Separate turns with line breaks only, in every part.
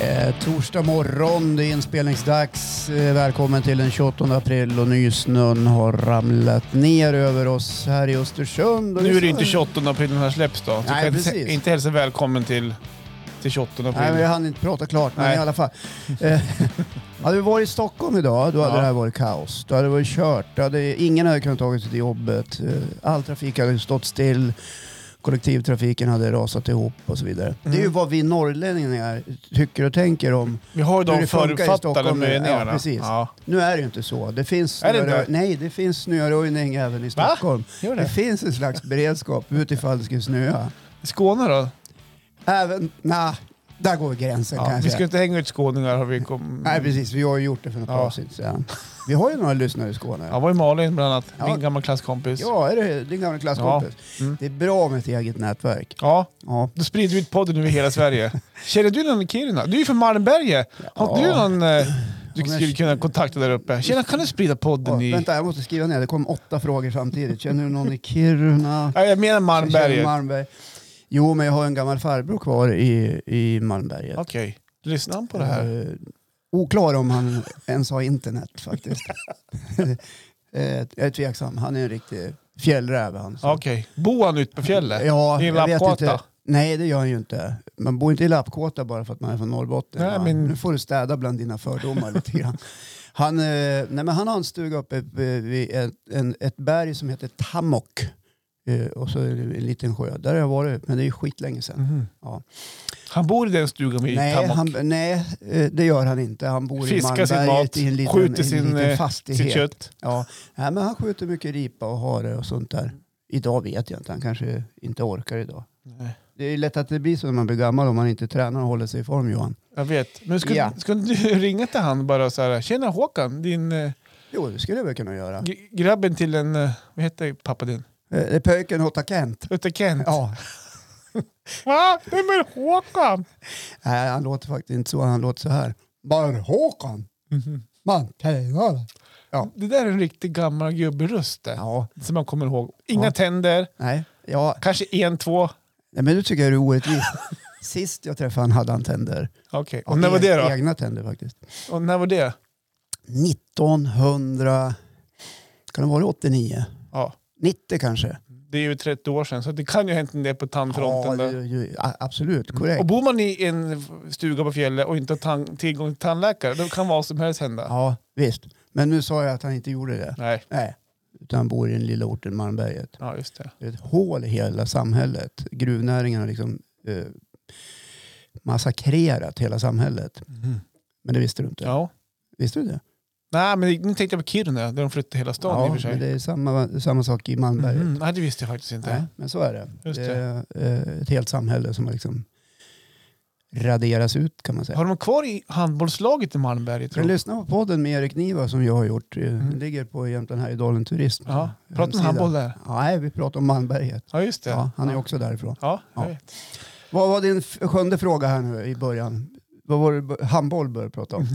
Eh, torsdag morgon, det är inspelningsdags. Eh, välkommen till den 28 april och nysnön har ramlat ner över oss här i Östersund. Och
Nu är det
så-
inte 28 april den här släpps då. Så
Nej,
kan inte-
precis.
inte hälsa välkommen till, till 28 april.
Nej, men jag hann inte prata klart, men
Nej.
i alla fall. Eh, hade vi varit i Stockholm idag, då hade
Ja.
det här varit kaos. Då hade det varit kört. Då hade, ingen hade kunnat tagit sig till jobbet. Eh, All trafik hade stått still. Kollektivtrafiken hade rasat ihop och så vidare. Det
Mm.
är ju vad vi norrlänningar tycker och tänker om
Vi har ju
hur
de
det funkar i
förutfattade
Stockholm nu.
meningarna.
Ja, precis.
Ja.
Nu är det ju inte så. Det finns
Är det inte?
snöröj- Nej, det finns snöröjning även i Stockholm.
Gör
Det
det.
finns en slags beredskap utifall det skulle snöa.
I Skåne då?
Även... Nej, där går gränsen
Ja,
kanske.
vi ska inte hänga ut skåningar har vi kom...
Nej, precis. Vi har ju gjort det för något
Ja.
avsnitt sedan. Vi har ju några lyssnare i Skåne.
Jag
Ja,
var i Malin bland annat.
Ja.
Min gamla klasskompis. Ja.
är det din gamla klasskompis?
Mm.
Det är bra med ett eget nätverk. Ja.
då sprider vi ut podden över hela Sverige. Känner du någon i Kiruna? Du är ju från Malmberget. Har
Ja.
du någon eh, du
men-
skulle kunna kontakta där uppe? Tjena, kan du sprida podden
Ja,
i...
vänta, jag måste skriva ner. Det kom åtta frågor samtidigt. Känner du någon i Kiruna?
Ja, jag menar
Känner
Malmberget.
Malmberg. Jo, men jag har en gammal farbror kvar i, i Malmberget.
Okej. Lyssnar han på det
Eh,
här?
oklar om han ens har internet faktiskt. eh, jag är tveksam. Han är en riktig fjällräv han. Så-
Okej. Bor han ute på fjället?
Ja,
I
jag vet
Lappkåta?
inte. Nej, det gör han ju inte. Man bor inte i Lappkåta bara för att man är från Norrbotten.
Nej,
va?
men-
Nu får du städa bland dina fördomar lite grann. Han, eh, nej, men han har en stuga uppe vid ett, en, ett berg som heter Tamok. Eh, och så är det en liten sjö. Där har jag varit, men det är ju skitlänge sedan.
Mhm.
Ja.
Han bor i den stugan med
Nej,
Tamok.
han, nej, eh, det gör han inte. Han bor
Fiskar
i
sin
Malmberget
mat,
i en liten, i
skjuter
en
sin,
liten
eh, sitt
fastighet.
kött.
Ja. Nej, men han skjuter mycket ripa och hare och sånt där. Idag vet jag inte, han kanske inte orkar idag.
Nej.
Det är lätt att det blir så när man blir gammal om man inte tränar och håller sig i form Johan.
Jag vet. Men skulle,
Ja.
skulle du ringa till han bara och säga Tjena Håkan, din, eh,
Jo, det skulle jag väl kunna göra.
gr- grabben till en... eh, Vad heter pappa din?
Eh, Det är pöjken Hotta Kent.
Ute Kent.
Ja,
Va? Vem är Håkan?
nej, han låter faktiskt inte så. Han låter så här. Bara Håkan, Mhm. man tränar.
Det där är en riktig gammal gubberöst det,
Ja,
som man kommer ihåg. Inga
Ja.
tänder,
nej, ja,
kanske en, två.
nej, men nu tycker jag det är orättvist. Sist jag träffade han hade han tänder.
Okej,
Ja,
och när var
e-
det då?
Egna tänder faktiskt.
Och när var det?
1900, kan det vara 89?
Ja,
90 kanske?
det är ju 30 år sedan, så det kan ju ha hänt en del på
Ja,
tandfronten.
det,
där.
är ju- a- absolut, korrekt.
Och bor man i en stuga på fjället och inte har tan- tillgång till tandläkare, då kan vad som helst hända.
Ja, visst. Men nu sa jag att han inte gjorde det.
Nej,
Nej, utan han bor i den lilla orten Malmberget.
ja just det.
Det är ett hål i hela samhället. Gruvnäringen har liksom eh, massakrerat hela samhället. Men det visste du inte.
Ja.
Visste du det?
Nej, men nu tänkte jag på Kiruna, där de flyttade hela stan i och för sig.
men det är samma, samma sak i Malmberget.
Mhm, Nej, det visste jag faktiskt inte.
Nej, men så är det.
Just
Det är eh, ett helt samhälle som har liksom raderas ut kan man säga.
Har de kvar i handbollslaget i Malmberget?
Kan
Tror
du
jag?
lyssna på podden med Erik Niva som jag har gjort? Eh,
Mm.
Den ligger på Jämtland Härjedalen Turism.
Ja, pratar
Hemsida.
om handboll där?
Nej, vi pratar om Malmberget.
Ja, just det.
Ja, han är
ja.
också därifrån.
Ja, jag
Ja.
vet.
Vad var din f- sjunde fråga här nu i början? Vad var det b- handboll började prata om?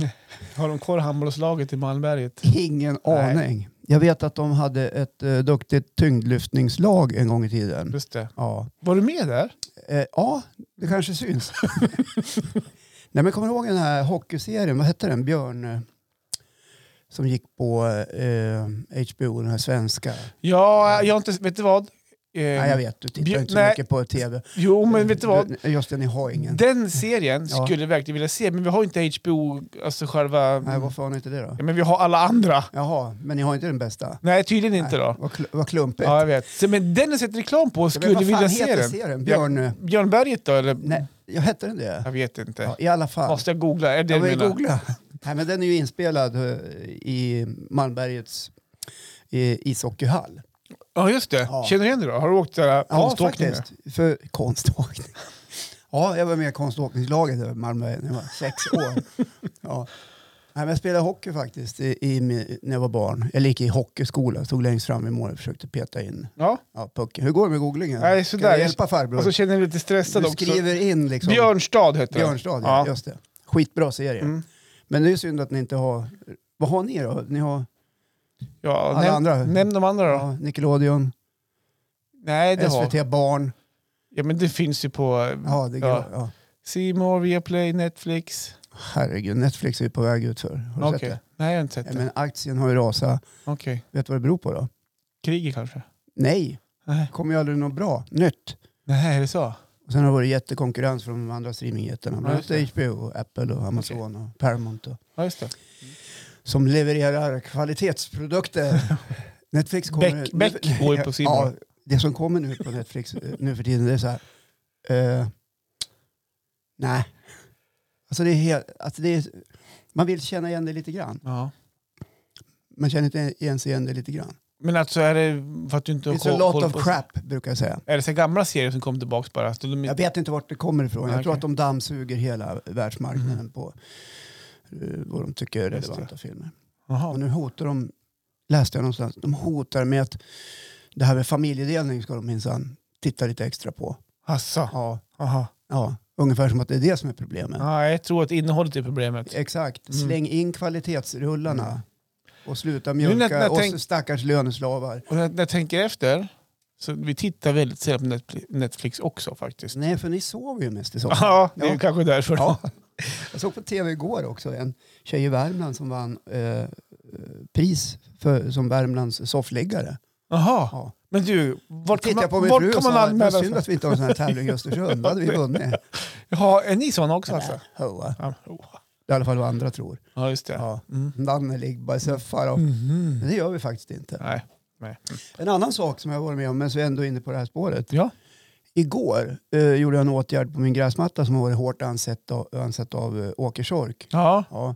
Har de kvar handbollslaget i Malmberget?
Ingen
Nej.
aning. Jag vet att de hade ett eh, duktigt tyngdlyftningslag en gång i tiden.
Just det.
Ja,
Var du med där?
eh, ja det kanske syns. Nej, men kommer du ihåg den här hockeyserien? Vad hette den? Björn? eh, Som gick på eh, HBO, den här svenska.
Mm. Ja, jag har inte... Vet du vad? Eh,
Nej, jag vet, du tittar
Björn-
inte så
nej.
mycket på tv.
Jo, men vet du vad?
Du- Just det, ni har ingen.
Den serien
Ja.
skulle jag verkligen vilja se, men vi har inte HBO, alltså själva...
Nej, varför har ni inte det då?
Ja, men vi har alla andra.
Jaha, men ni har inte den bästa?
Nej, tydligen inte då.
Vad, kl- vad klumpigt.
Ja, jag vet. Så, men den har jag sett reklam på och skulle vilja se den.
serien? Björn... eh,
Björn Berget då, eller?
Nej, jag hette den det?
Jag vet inte.
Ja, I alla fall.
Måste jag googla? Är det
Jag
det
vill
du menar?
googla. Nej, men den är ju inspelad eh, i Malmbergets eh, ishockeyhall.
Ja, just det.
Ja.
Känner du igen det då? Har du åkt där
Ja,
konståkning?
faktiskt. För konståkning. Ja, jag var med i konståkningslaget i Malmö när jag var sex år. Ja. Nej, men jag spelade hockey faktiskt i, i, min- när jag var barn. Jag gick i hockeyskolan, stod längst fram i mål och försökte peta in
Ja.
ja, pucken. Hur går det med googlingen?
Nej,
Ska
sådär.
jag hjälpa farbror?
Och så känner jag mig lite stressad
du
också.
skriver in liksom.
Björnstad heter den.
Björnstad, ja.
Ja.
Just det. Skitbra serie.
Mm.
Men det är ju synd att ni inte har... Vad har ni då? Ni har
Ja,
Alla
näm-
andra.
Nämn de andra då.
ja, Nickelodeon,
Nej, det har...
SVT Barn.
Ja, men det finns ju på...
Ja, det är
Ja.
Bra, ja.
C More, Viaplay, Netflix.
Herregud, Netflix är ju på väg ut för. Har du
Okej.
sett
Nej, jag har inte sett
det?
det.
Men aktien har ju rasat.
Okej.
Vet du vad det beror på då?
Kriget kanske?
Nej,
Nej.
det kommer ju aldrig något bra, nytt.
Nej, är det så?
Och sen har det varit jättekonkurrens från de andra streamingjättarna.
Ja,
Bland
just
annat HBO, och Apple och Amazon och Paramount. Och,
Ja, just det.
som levererar kvalitetsprodukter. Netflix kommer...
Beck- Beck går ju på sin
Ja,
roll.
det som kommer nu på Netflix eh, nu för tiden det är så här... eh, nej. Alltså det är helt... Alltså det är, man vill känna igen det lite grann.
Ja.
Man känner inte ens igen det lite grann.
Men alltså är det för att du inte
It's a
koll-
lot
koll
of
på- Mm.
crap brukar jag säga.
Är det så här gamla serier som kom tillbaka bara? Så de-
Jag vet inte vart det kommer ifrån. Jag
Nej,
tror
okej.
att de dammsuger hela världsmarknaden
Mhm.
på eh, vad de tycker är
Just det.
relevanta filmer. Och
Jaha.
nu hotar de, läste jag någonstans, de hotar med att det här med familjedelning ska de minsann titta lite extra på.
Asså.
Ja.
Jaha.
ja, ungefär som att det är det som är problemet.
Ja, jag tror att innehållet är problemet.
Exakt,
Mm.
släng in kvalitetsrullarna och sluta
när- när
mjölka
jag
oss
tänk-
stackars löneslavar.
Och när när jag tänker efter, så vi tittar väldigt sällan på Netflix- Netflix också faktiskt.
Nej, för ni sover ju mest i soffan.
Ja, det är
Ja.
kanske därför.
Ja. Jag såg på tv igår också en tjej i Värmland som vann eh, eh, pris för, som Värmlands soffliggare.
Jaha.
Ja.
Men du, vart kan
Tittar jag på
man,
min fru
vart
och
kan man
sa
anmäla
vad
sig?
synd att vi inte har en sån här tävling i Östersund. Då hade vi vunnit.
Ja, är ni såna också alltså?
Ho, va?
Ja, oh.
Det är i alla fall vad andra tror.
Ja, just det.
Ja.
Mm.
Nanneligg, bajsöffar och...
Mhm.
Men det gör vi faktiskt inte.
Nej. Nej.
En annan sak som jag varit med om, men så är jag ändå inne på det här spåret.
Ja.
Igår eh, gjorde jag en åtgärd på min gräsmatta som har varit hårt ansett av, ansett av eh, åkersork.
Ja.
Ja.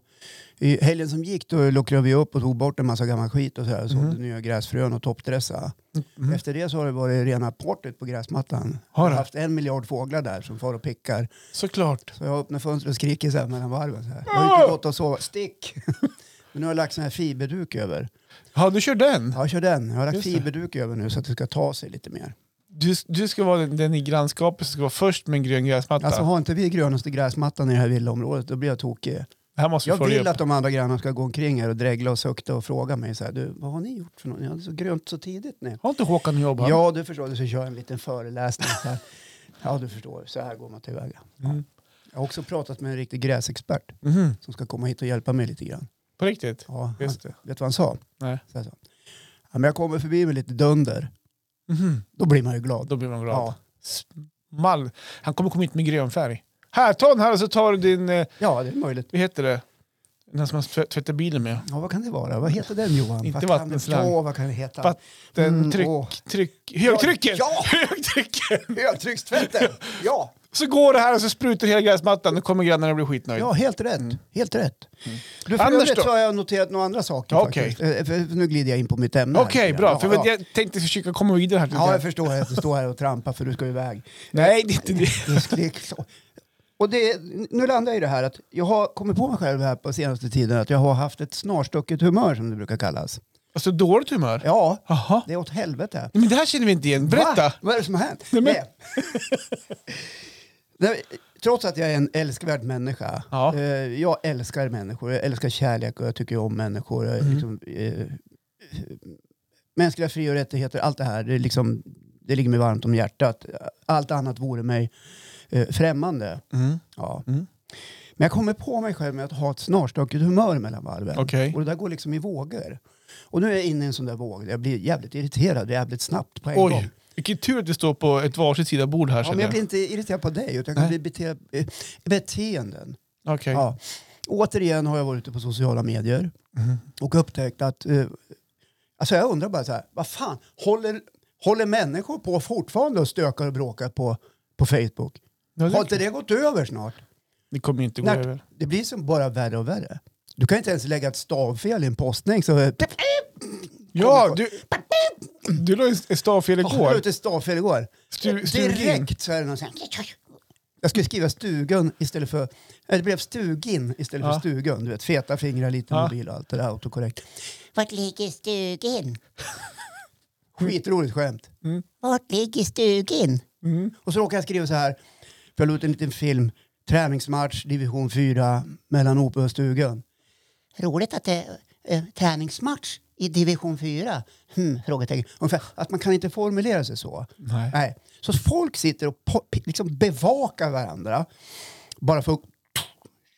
I helgen som gick då luckrade vi upp och tog bort en massa gammal skit och sådär. Sålde
Mhm.
nya gräsfrön och toppdressar.
Mm.
Efter det så har det varit rena partyt på gräsmattan.
Har
jag
det?
har haft en miljard fåglar där som far och pickar.
Såklart.
Så jag öppnar fönstret och skriker så här mellan varven. Så här. Jag har inte gått och sova. Stick! Men nu har jag lagt sån här fiberduk över.
Ja, du kör den.
Ja, kör den. Jag har lagt
Just det.
fiberduk över nu så att det ska ta sig lite mer.
Du, du ska vara den, den i grannskapet som ska vara först med en grön gräsmatta.
Alltså har inte vi grönaste gräsmattan i det här villaområdet då blir jag tokig.
det här måste vi
Jag
följa
vill
upp.
att de andra grannarna ska gå omkring här och dregla och sukta och fråga mig så här. Du, vad har ni gjort för något? Ni hade så grönt så tidigt nu.
Har inte Håkan jobb här?
Ja, du förstår. Du ska köra en liten föreläsning. Så här. Ja, du förstår. Så här går man tillväga.
Mm.
Jag har också pratat med en riktig gräsexpert
Mhm.
som ska komma hit och hjälpa mig lite grann.
På riktigt?
Ja, han,
Just det.
Vet du vad han sa?
Nej.
Så här sa han. ja, men jag kommer förbi med lite dunder.
Mhm.
Då blir man ju glad.
Då blir man glad.
Ja,
Mall. Han kommer komma hit med grön färg. Här, ta den här och så tar du din, eh,
ja det är möjligt.
vad heter det, den som man tv- tvättar bilen med.
Ja, vad kan det vara? Vad heter den Johan?
Inte
vad kan det-
vattenslang.
Åh, vad kan det heta?
Vatt- Den
Mm,
tryck,
åh.
tryck, högtrycken!
Ja,
högtrycken!
högtryckstvätten! Ja,
Så går det här och så sprutar hela gräsmattan. Då kommer grannarna bli skitnöjda.
ja helt rätt. Helt rätt. Du, för
Mm. Anders
övrigt
då?
så har jag noterat några andra saker
Okej.
faktiskt. Eh, för Nu glider jag in på mitt ämne. här
Okej,
lite
bra.
grann.
för
Ja, ja.
Jag tänkte försöka komma vidare här. lite
ja,
grann.
jag förstår att du står här och trampar för du ska iväg.
Nej, det är inte det.
Du skrek så. Och det, nu landar jag i det här att jag har kommit på mig själv här på senaste tiden att jag har haft ett snarstucket humör som det brukar kallas.
Alltså dåligt humör?
Ja,
Jaha.
det är åt helvete.
Men det här känner vi inte igen. Berätta!
Va? Vad är det som har hänt?
Nej, men-
Det. Nej, Trots att jag är en älskvärd människa.
Ja.
eh, jag älskar människor, jag älskar kärlek och jag tycker om människor. Jag är
Mm.
liksom, eh, mänskliga fri och rättigheter, allt det här, det, är liksom, det ligger mig varmt om hjärtat. Allt annat vore mig eh, främmande.
Mm.
Ja.
Mm.
Men jag kommer på mig själv med att ha ett snarstucket humör mellan varven.
Okej.
Och det där går liksom i vågor. Och nu är jag inne i en sån där våg. där Jag blir jävligt irriterad jävligt snabbt på en gång.
Oj, vilken tur att vi står på ett varsitt sida bord här.
Ja, men
känner
jag
jag.
blir inte irriterad på dig, utan jag kan bli bete, eh, beteenden.
Okej.
Ja. Återigen har jag varit ute på sociala medier
Mm-hmm.
och upptäckt att... Eh, alltså jag undrar bara så här, vad fan, håller, håller människor på fortfarande och stökar och bråkar på, på Facebook?
Ja, det-
Har inte det gått över snart?
Det kommer ju inte gå
När-
över.
Det blir som bara värre och värre. Du kan inte ens lägga ett stavfel i en postning. Så, jag
Ja, du, du la ju ett stavfel
la
igår.
ut ett stavfel igår.
Stu, stugin.
Direkt så är det någon sån här... Jag skulle skriva stugan istället för... eller Det blev stugin istället
Ja.
för stugan. Du vet, feta fingrar, liten
Ja.
mobil och allt det där autokorrekt.
Vart ligger stugan?
Skitroligt skämt.
Vart ligger stugan?
Mm. Och så råkade jag skriva så här, för jag la ut en liten film. Träningsmatch, division 4, mellan OP och stugan.
Roligt att det...
Eh, träningsmatch i division 4? Hmm, frågetecken. Ungefär, att man kan inte formulera sig så.
Nej.
Nej. Så folk sitter och po- pi- liksom bevakar varandra. Bara för att...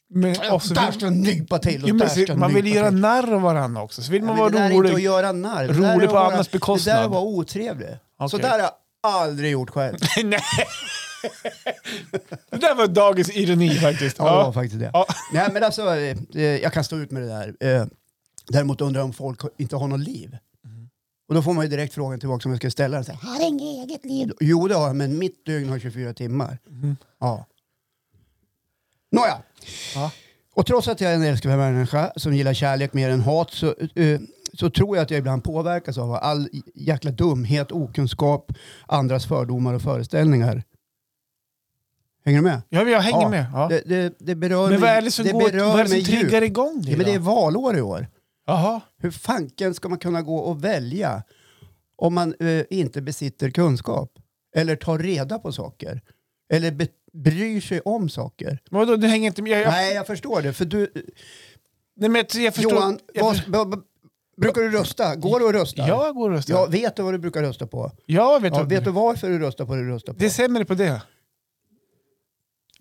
Men, och så
Där
vill,
ska jag nypa till och
jo, men,
där ska
så,
jag
man vill
nypa
göra
till.
narr av varandra också. Så vill man
Nej, men
vara
Det där är inte att
rolig.
göra narr. Det
Rolig
där är att
på
vara-
andras bekostnad.
Det där är att vara otrevlig. Så
Okej.
där har jag aldrig gjort själv.
Nej. Det där var dagens ironi faktiskt.
Ja, det var faktiskt det.
Ja.
Nej, men alltså, eh, eh, jag kan stå ut med det där. Eh, Däremot undrar jag om folk inte har något liv. Och då får man ju direkt frågan tillbaka om jag ska ställa den. Så här,
Har inget eget liv.
Jo, det har jag, men mitt dygn har 24 timmar. Ja. Nåja.
Ja.
Och trots att jag är en älskvärd människa som gillar kärlek mer än hat så, eh, så tror jag att jag ibland påverkas av all jäkla dumhet, okunskap, andras fördomar och föreställningar. Hänger du med?
Ja, men jag hänger
Ja,
med. Ja.
Det, det, det berör
Men vad
mig-
är det som, går, vad är det som
mig djupt.
triggar igång det?
Ja, men det är
då?
valår i år.
Jaha.
Hur fanken ska man kunna gå och välja om man eh, inte besitter kunskap? Eller tar reda på saker? Eller be- bryr sig om saker?
Men vadå, du hänger inte med? Jag, jag, nej.
Nej, jag förstår det. För du, eh,
men jag, jag förstår.
Johan,
jag,
vad,
förstår-
vad- vad- brukar du rösta? Går du och röstar?
jag går och röstar.
Ja,
Ja,
vet du vad du brukar rösta på?
jag vet,
Ja,
vad-
vet du varför du röstar på det du röstar på?
Det är sämre på det.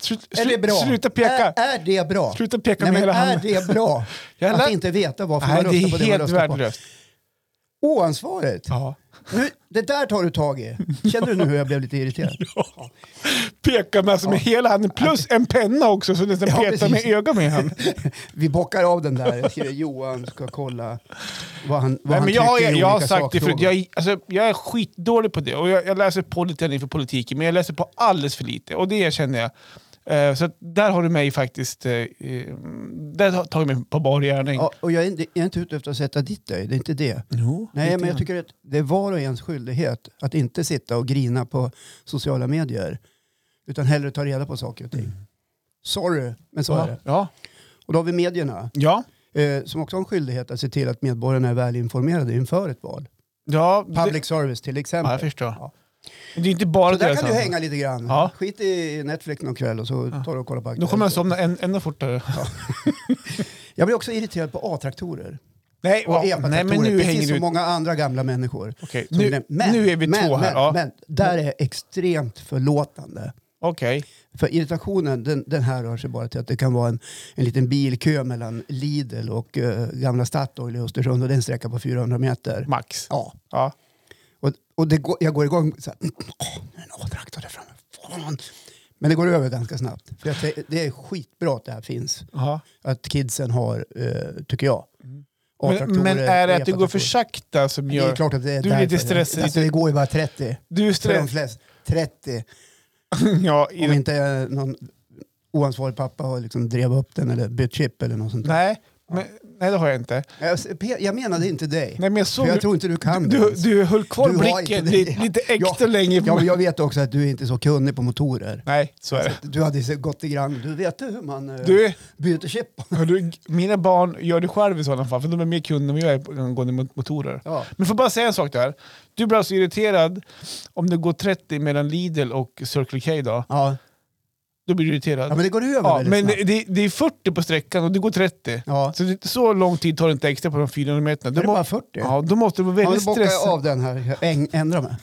Slut,
är det
slut,
bra? Äh,
Sluta peka.
Är, är det bra?
Sluta peka
Nej,
med
men
hela
är
handen.
det bra?
Jag lär-
Att inte veta varför
Nej,
man röstar på det
det är
man
helt
röstar på.
värdelöst.
Oansvarigt.
Ja.
Nu, det där tar du tag i. Känner du nu hur jag blev lite irriterad?
Peka med, alltså med hela handen, plus en penna också så du nästan
Ja,
petar med
precis.
ögat med handen.
Vi bockar av den där. Jag skriver Johan ska kolla vad han, vad
Nej,
han
men jag, har-
tycker i
jag har
olika
sagt det förut,
sakfrågor.
jag, alltså, jag är skitdålig på det och jag, jag läser på lite grann inför politiken men jag läser på alldeles för lite och det erkänner jag. Eh, så att där har du mig faktiskt, eh, eh, där har tagit mig på bar gärning.
Ja, och jag är, inte, jag är inte ute efter att sätta dit dig, det är inte det.
Jo,
Nej,
lite
men jag
grann.
tycker att det är var och ens skyldighet att inte sitta och grina på sociala medier. Utan hellre ta reda på saker och ting. Sorry, men så är det.
Mm. ja.
Och då har vi medierna,
ja.
eh, som också har en skyldighet att se till att medborgarna är välinformerade inför ett val.
ja. det-
Public service till exempel.
Ja, jag förstår.
Ja.
Men Det är inte bara
Så där
deras
kan du
ansvar.
hänga lite grann.
Ja.
Skit i Netflix någon kväll och så tar du och kollar på
Då
Aktuellt.
kommer jag somna än, ännu fortare.
Jag blir också irriterad på A-traktorer
Nej,
och
ja, nej,
EPA-traktorer.
men nu hänger
precis som
du...
många andra gamla människor.
Okej,
Som
nu,
det- men-
nu är vi
men,
två här.
Men,
ja.
men där är jag extremt förlåtande.
Okej.
För irritationen, den, den här rör sig bara till att det kan vara en, en liten bilkö mellan Lidl och eh, gamla Statoil i Östersund och den sträcker på 400 meter.
Max.
Ja.
Ja.
Och, och det går, jag går igång så här, åh, nu är en A-traktor där framme, fan. Men det går över ganska snabbt. För jag, tän- det är skitbra att det här finns.
Ja.
Att kidsen har, eh, tycker jag.
Men,
A-traktorer,
Mm. men är det att det går för
epatraktorer.
sakta som
Det är
gör...
klart att det är
Du är lite
därför.
stressad.
Alltså, det går ju bara 30.
Du är
För de
stressad.
flesta. 30.
ja, i-
Om inte eh, någon oansvarig pappa har liksom drev upp den eller bytt chip eller något sånt. där.
nej, men, nej, det har jag inte.
Jag, s- Pe- jag menade inte dig.
Nej, men jag
för
såg...
jag tror inte du kan det
du,
ens.
du höll kvar
Du har
blicken
inte det.
lite, lite extra länge. På
Ja, men
mig.
jag vet också att du är inte så kunnig på motorer.
Nej, så är det.
Du hade så gått i grann. Du vet hur man eh,
Du,
byter chip.
hör du, mina barn gör det själv i sådana fall, för de är mer kunder än vad jag är på- angående mot- motorer.
Ja.
Men får bara säga en sak där. Du blir alltså irriterad om det går 30 mellan Lidl och Circle K då.
Ja.
Då blir du irriterad.
ja, men det går över
Ja,
väldigt
men
snabbt.
det, det, det är 40 på sträckan och det går 30.
Ja.
Så, det, så lång tid tar det inte extra på de 400 meterna.
Är
Då,
det
må,
bara 40?
ja, då måste du vara
Ja, men
väldigt
då bockar jag
stressad.
av den här. Jag äng- ändrar mig.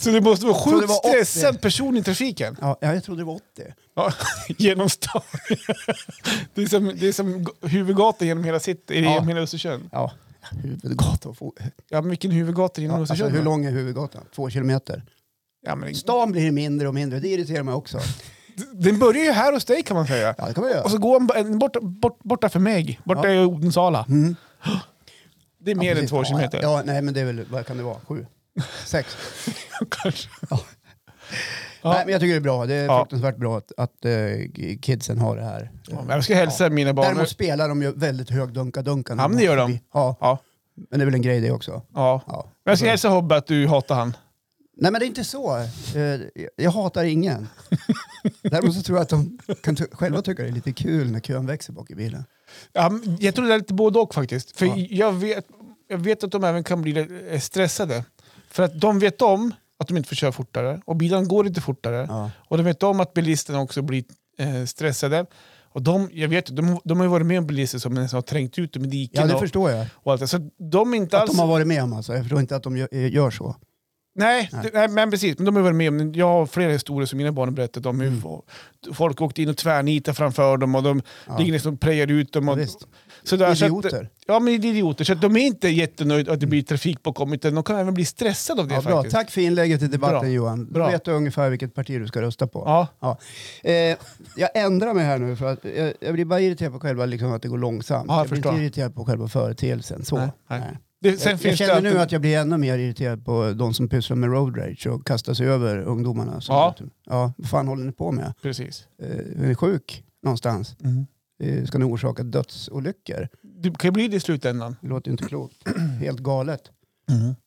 Så du måste vara
det
sjukt
var 80.
stressad person i trafiken.
Ja, jag trodde det var 80.
Ja, genom stan. det, är som, det är som g- huvudgatan genom hela city,
Ja.
genom hela Östersund.
Ja, huvudgatan. och fo-
Ja, men vilken huvudgata genom
Ja, alltså,
Östersund?
hur
då?
lång är huvudgatan? Två kilometer.
Ja, men,
Stan blir mindre och mindre. Det irriterar mig också.
den börjar ju här hos dig kan man säga.
Ja, det kan man göra.
Och så går den b- borta, bort, borta för mig, borta i Odensala. Det är mer
Mm. Ja,
än
precis.
två
Ja,
kilometer.
Ja, ja, nej, men det är väl, vad kan det vara? Sju? Sex?
Kanske. Ja.
Nej, men jag tycker det är bra. Det är
Ja.
fruktansvärt bra att, att eh, kidsen har det här.
Ja, men jag ska hälsa mina barn.
Däremot spelar de ju väldigt hög dunka-dunka. när
Ja, men
de åker
det gör de.
förbi. Ja,
Ja,
men det är väl en grej det också.
ja.
Ja.
Men jag ska hälsa Hobbe att du hatar han.
Nej, men det är inte så. Eh, Jag hatar ingen. Däremot så tror jag att de kan ty- själva tycka det är lite kul när kön växer bak i bilen.
Ja, men jag tror det är lite både och faktiskt. För
Ja.
jag, vet, jag vet att de även kan bli eh, stressade. För att de vet om att de inte får köra fortare och bilen går inte fortare.
Ja.
Och de vet om att bilisterna också blir eh, stressade. Och de, jag vet, ju, de, de har ju varit med om bilister som nästan har trängt ut dem i
Ja,
diken
det
och,
förstår jag.
och allt det. Så de är inte
Att
alls...
de har varit med om alltså. Jag förstår inte att de gö- eh, gör så.
Nej,
Nej.
det, nej, men precis. Men de har varit med om, jag har flera historier som mina barn har berättat om hur
Mm.
få- folk åkte in och tvärnitade framför dem och de
Ja.
ligger nästan och prejar ut dem. Och,
Visst.
sådär, så att-
Idioter.
ja, men det är idioter. Så att de är inte jättenöjda att det blir trafikpåkommet, utan de kan även bli stressade av det
Ja, bra.
faktiskt.
Tack för inlägget i debatten
Bra.
Johan. Då
Bra.
vet du ungefär vilket parti du ska rösta på.
Ja,
Ja. Eh, jag ändrar mig här nu för att jag, jag blir bara irriterad på själva liksom att det går långsamt.
Ja, jag
blir
förstår.
inte irriterad på själva företeelsen. Så.
Nej, nej.
Nej.
det, sen
jag jag
finns
känner
det
nu att jag blir ännu mer irriterad på de som pysslar med road rage och kastar sig över ungdomarna. som-
Ja.
ja. Vad fan håller ni på med?
Precis.
Eh, är ni sjuk någonstans? Eh, ska ni orsaka dödsolyckor?
Det kan ju bli det i slutändan.
Det låter ju inte klokt. Helt galet.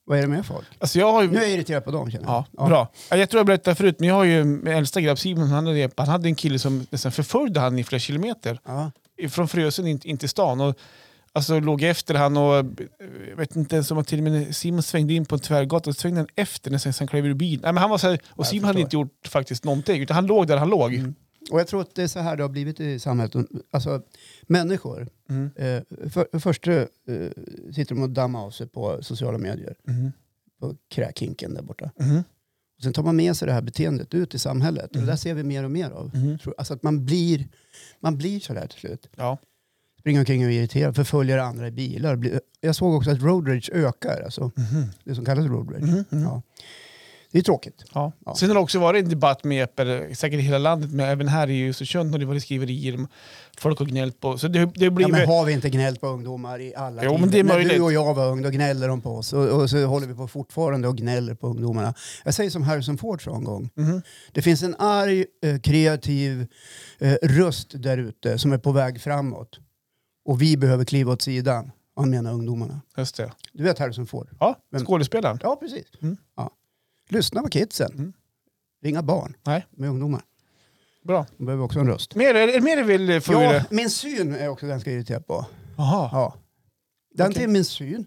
Vad är det med folk?
Alltså jag har ju...
Mm. Nu är jag irriterad på dem känner jag.
Ja, bra. Ja, Jag tror jag berättade förut, men jag har ju min äldsta grabb Simon, han hade, han hade en kille som nästan förföljde han i flera kilometer.
Ja.
Från Frösön in, in till stan. Och, alltså låg efter han och eh, jag vet inte ens om han till och med Simon svängde in på en tvärgata och svängde han efter när han klev ur bilen. Nej, men han var så här, och Simon hade
förstår.
inte gjort faktiskt någonting, utan han låg där han låg.
Mm. Och jag tror att det är så här det har blivit i samhället. Alltså människor,
Mm.
eh, för, först eh, sitter de och dammar av sig på sociala medier,
Mm.
på kräkinken där borta.
Mm.
Och sen tar man med sig det här beteendet ut i samhället och det där
Mm.
ser vi mer och mer av.
Mm.
Tror- Alltså att man blir, man blir så där till slut.
Ja.
Springer omkring och är irriterad, förföljer andra i bilar. Blir- Jag såg också att road rage ökar, alltså
Mhm.
det som kallas road rage.
Mhm. Mhm.
Ja. Det är tråkigt.
Ja.
Ja.
Sen har det också varit en debatt med Jeppe, säkert i hela landet, men även här i Östersund har det varit skriverier. Folk har gnällt på. Så det, det blir
Ja, men har vi inte gnällt på ungdomar i alla
Jo,
tider?
men det är
När
möjligt.
du och jag var ung då gnällde de på oss och, och så håller vi på fortfarande och gnäller på ungdomarna. Jag säger som Harrison Ford sa en gång.
Mhm.
Det finns en arg, eh, kreativ eh, röst där ute som är på väg framåt. Och vi behöver kliva åt sidan. Och Han menar ungdomarna.
Just det.
Du vet Harrison Ford?
Ja,
Vem-
skådespelaren.
Ja, precis.
Mm.
Ja. Lyssna på kidsen.
Mm.
Ringa barn
Nej.
med ungdomar.
Bra.
De behöver också en röst.
Mer, är det mer du vill eh, få ur
Ja,
det?
min syn är jag också ganska irriterad på.
Jaha.
Ja. Den
Okej.
till min syn.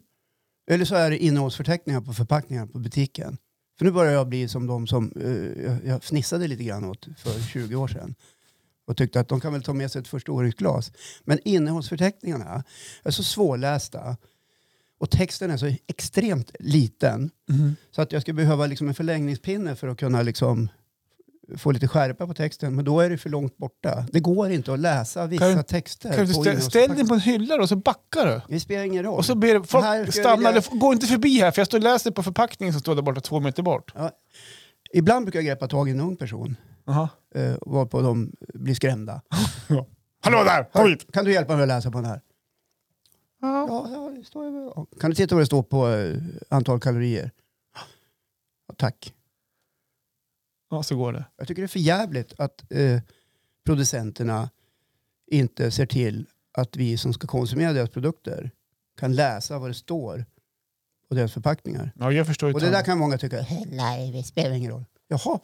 Eller så är det innehållsförteckningar på förpackningar på butiken. För nu börjar jag bli som de som eh, jag- jag fnissade lite grann åt för 20 år sedan. Och tyckte att de kan väl ta med sig ett förstoringsglas. Men innehållsförteckningarna är så svårlästa. Och texten är så extremt liten.
Mhm.
Så att jag skulle behöva liksom en förlängningspinne för att kunna liksom få lite skärpa på texten. Men då är det för långt borta. Det går inte att läsa vissa
Kan-
texter.
Kan du
på
stä, ställ
innehållsförpackningar.
den på en hylla då, så backar du.
Det spelar ingen roll.
Och så ber
Här
folk
ska jag
stanna,
vilja-
eller, gå inte förbi här för jag står och läser på förpackningen som står där borta två meter bort.
Ibland brukar jag greppa tag i en ung person,
Jaha.
eh, varpå de blir skrämda.
Hallå där, kom hit!
Kan du hjälpa mig att läsa på den här? Ja, ja, det står ju- ja. Kan du titta vad det står på eh, antal kalorier? Ja, tack.
Ja, så går det.
Jag tycker det är för jävligt att eh, producenterna inte ser till att vi som ska konsumera deras produkter kan läsa vad det står på deras förpackningar.
Ja, jag förstår ju
Och det där kan många tycka, "Hä,
larvigt.
spelar ingen roll. Jaha,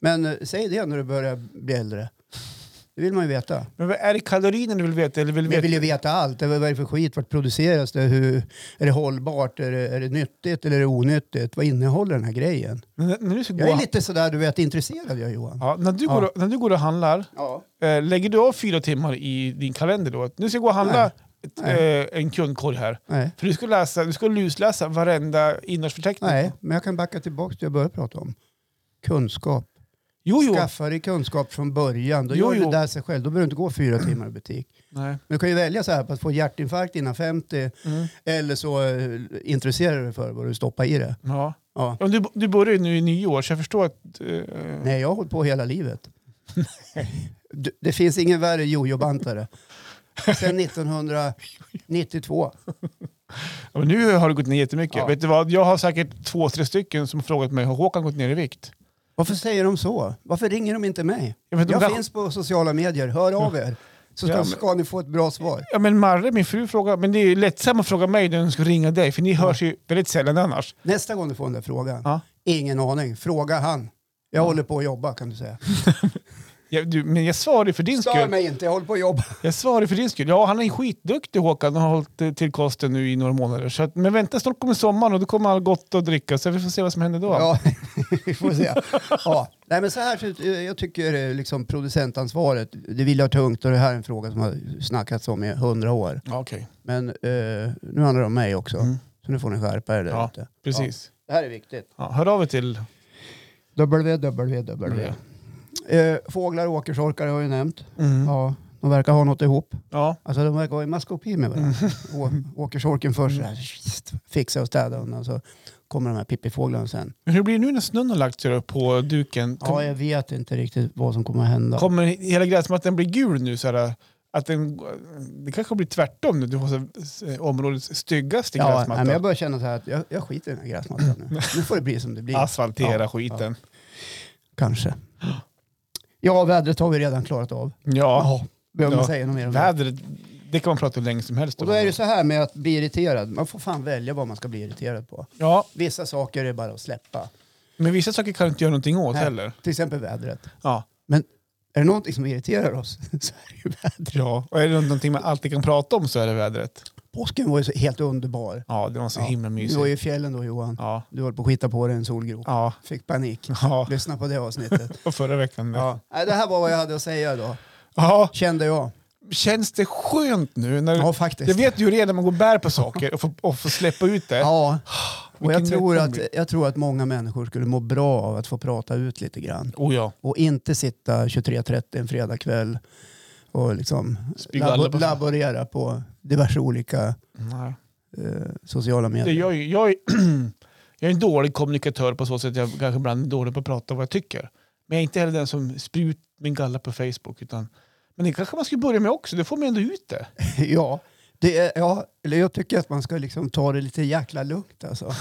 men eh, säg det när du börjar bli äldre. Det vill man ju veta.
Men vad är det kalorierna du vill veta? Eller vill
Vi
veta?
vill ju veta allt. Vad är det för skit? Vart produceras det? Hur, är det hållbart? Är det, är det nyttigt eller är det onyttigt? Vad innehåller den här grejen?
Men När, när du ska gå
Jag är lite sådär, du vet, intresserad jag Johan.
ja, när, du går
Ja.
och, när du går och handlar,
Ja.
eh, lägger du av fyra timmar i din kalender då? Nu ska jag gå och handla ett,
Nej.
eh, en kundkorg här.
Nej.
För du ska, läsa, du ska lusläsa varenda innehållsförteckning.
Nej, men jag kan backa tillbaka till det jag började prata om. Kunskap.
Jo, jo.
Skaffa dig kunskap från början. Då
Jo,
gör
jo.
du det där sig själv. Då behöver du inte gå fyra timmar i butik.
Nej.
Men Du kan ju välja så här på att få hjärtinfarkt innan 50
Mm.
eller så eh, intresserar du dig för vad du stoppar i det.
Ja.
Ja.
Ja, Du, du börjar ju nu i nio år, så jag förstår att... eh,
Nej, jag har hållit på hela livet. Du- Det finns ingen värre jojo-bantare. Sen 1992.
ja, men nu har det gått ner jättemycket.
Ja.
Vet du vad? Jag har säkert två, tre stycken som har frågat mig, har Håkan gått ner i vikt?
Varför säger de så? Varför ringer de inte mig?
Ja, men de
Jag
kanske-
finns på sociala medier. Hör av er så ska,
Ja, men-
ska ni få ett bra svar.
Ja, men Marre, min fru, frågar. Men det är ju lättsamt att fråga mig när hon ska ringa dig, för ni hörs ju väldigt sällan annars.
Nästa gång du får den där frågan.
Ja.
Ingen aning. Fråga han. Jag håller på att jobba kan du säga.
Jag, du, men jag svarar ju för din
Stör
skull.
mig inte, jag håller på att jobba.
Jag svarar ju för din skull. Ja, han är skitduktig Håkan och har hållit eh, till kosten nu i några månader. Så att, men vänta, snart kommer sommaren och då kommer allt gott att dricka, så vi får se vad som händer då.
Ja, vi får se. Ja. Nej, men så här, ser det ut. jag tycker eh, liksom producentansvaret, det vill jag tungt och det här är en fråga som har snackats om i hundra år.
Ja, Okej,
Men eh, nu handlar det om mig också. Så nu får ni skärpa er där
Mm. Ja,
ute.
precis.
Det här är viktigt.
Ja, hör av er till...
www. Eh, fåglar och åkersorkar har jag ju nämnt.
Mm. Ja.
Ja, de verkar ha något ihop.
Ja.
Alltså de verkar ha en maskopi med varandra.
Mm.
Å- Åkersorken först så här, schysst, fixa och städa undan så kommer de här pippifåglarna sen.
Men hur blir det nu när snön har lagt sig då på duken?
Ja, jag vet inte riktigt vad som kommer att hända.
Kommer hela gräsmattan bli gul nu? Så här, att den, det kanske blir tvärtom nu. Du har så här, eh, områdets styggaste
Ja, nej,
gräsmatta.
men jag börjar känna så här att jag, jag skiter i den här gräsmattan nu. Nu får det bli som det blir.
Asfaltera
Ja,
skiten.
Kanske. Ja, vädret har vi redan klarat av.
Ja.
Behöver man
Ja.
säga något mer om det?
vädret. Det kan man prata hur länge som helst
Och
om.
då är det så här med att bli irriterad. Man får fan välja vad man ska bli irriterad på.
Ja,
Vissa saker är bara att släppa.
men vissa saker kan du inte göra någonting åt
Nej.
heller.
Till exempel vädret.
Ja.
Men är det någonting som irriterar oss så är det ju vädret.
ja, och är det någonting man alltid kan prata om så är det vädret.
Påsken var ju så helt underbar.
Ja, det var så
Ja.
himla
Du var
mysigt.
ju i fjällen då Johan.
Ja.
Du höll på att skita på dig en solgrop.
Ja.
Fick panik.
ja,
Lyssna på det avsnittet.
och förra veckan. Ja.
ja. Nej, Det här var vad jag hade att säga då.
ja,
Kände jag.
känns det skönt nu? När,
Ja, faktiskt.
Jag vet ju hur Mm. det är när man går och bär på saker och får, och får släppa ut det.
Ja, och jag
Vilken
tror,
lättnad
att,
det
jag tror att många människor skulle må bra av att få prata ut lite grann.
Oh ja.
Och inte sitta 23.30 en fredagkväll och liksom
Spy galla
labo-
på-
laborera på diverse olika
Nej.
eh, sociala
Det,
medier.
jag, är ju- jag, är, jag är en dålig kommunikatör på så sätt att jag kanske ibland är dålig på att prata om vad jag tycker. Men jag är inte heller den som spyr ut min galla på Facebook. Utan, men det kanske man skulle börja med också, det får man ändå ut det.
Ja, det är, ja, eller jag tycker att man ska liksom ta det lite jäkla lugnt alltså.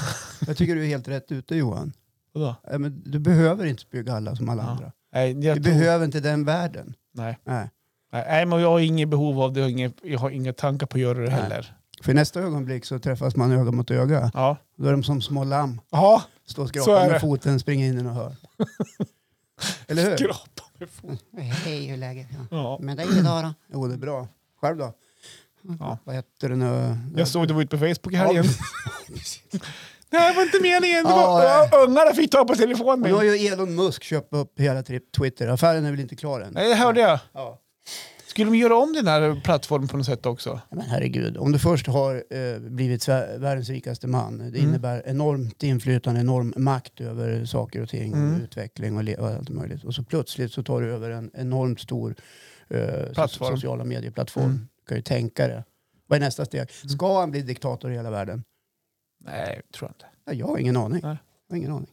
Jag tycker du är helt rätt ute Johan.
Vadå?
Ja, men Du behöver inte bygga alla som alla
Ja,
andra.
Nej, jag
Du
tror-
behöver inte den världen.
nej,
Nej.
nej, nej, men jag har inget behov av det, jag har inga, jag har inga tankar på att göra det
Nej.
heller.
För i nästa ögonblick så träffas man öga mot öga.
Ja.
Då är de som små lamm.
Ja,
Stå och
Så
skrapa
är det.
med foten, springa in i något hörn. Eller hur?
skrapa med foten.
Hej, hur läget? Ja.
Ja.
Men det är ju idag då.
Jo, det är bra. Själv då?
Ja.
Vad heter den? ö-
Jag såg det var ute på Facebook i
Ja,
helgen. Nej, det var inte meningen. Det
Ja,
var,
nej.
ja, ungarna fick ta på telefon
Och nu har
mig.
ju Elon Musk köpt upp hela tri- Twitter. Affären är väl inte klar än?
Nej, det hörde jag.
Ja.
Skulle de göra om den här plattformen på något sätt också?
Men herregud, om du först har eh, blivit Sver- världens rikaste man, det
Mm.
innebär enormt inflytande, enorm makt över saker och ting,
Mm.
utveckling och, le- och allt möjligt. Och så plötsligt så tar du över en enormt stor eh,
Plattform.
so- sociala medieplattform.
Mm.
Du kan ju tänka det. Vad är nästa steg? Ska han bli diktator i hela världen?
Nej, tror jag inte.
Ja, Jag har ingen aning.
Nej.
Jag har ingen aning.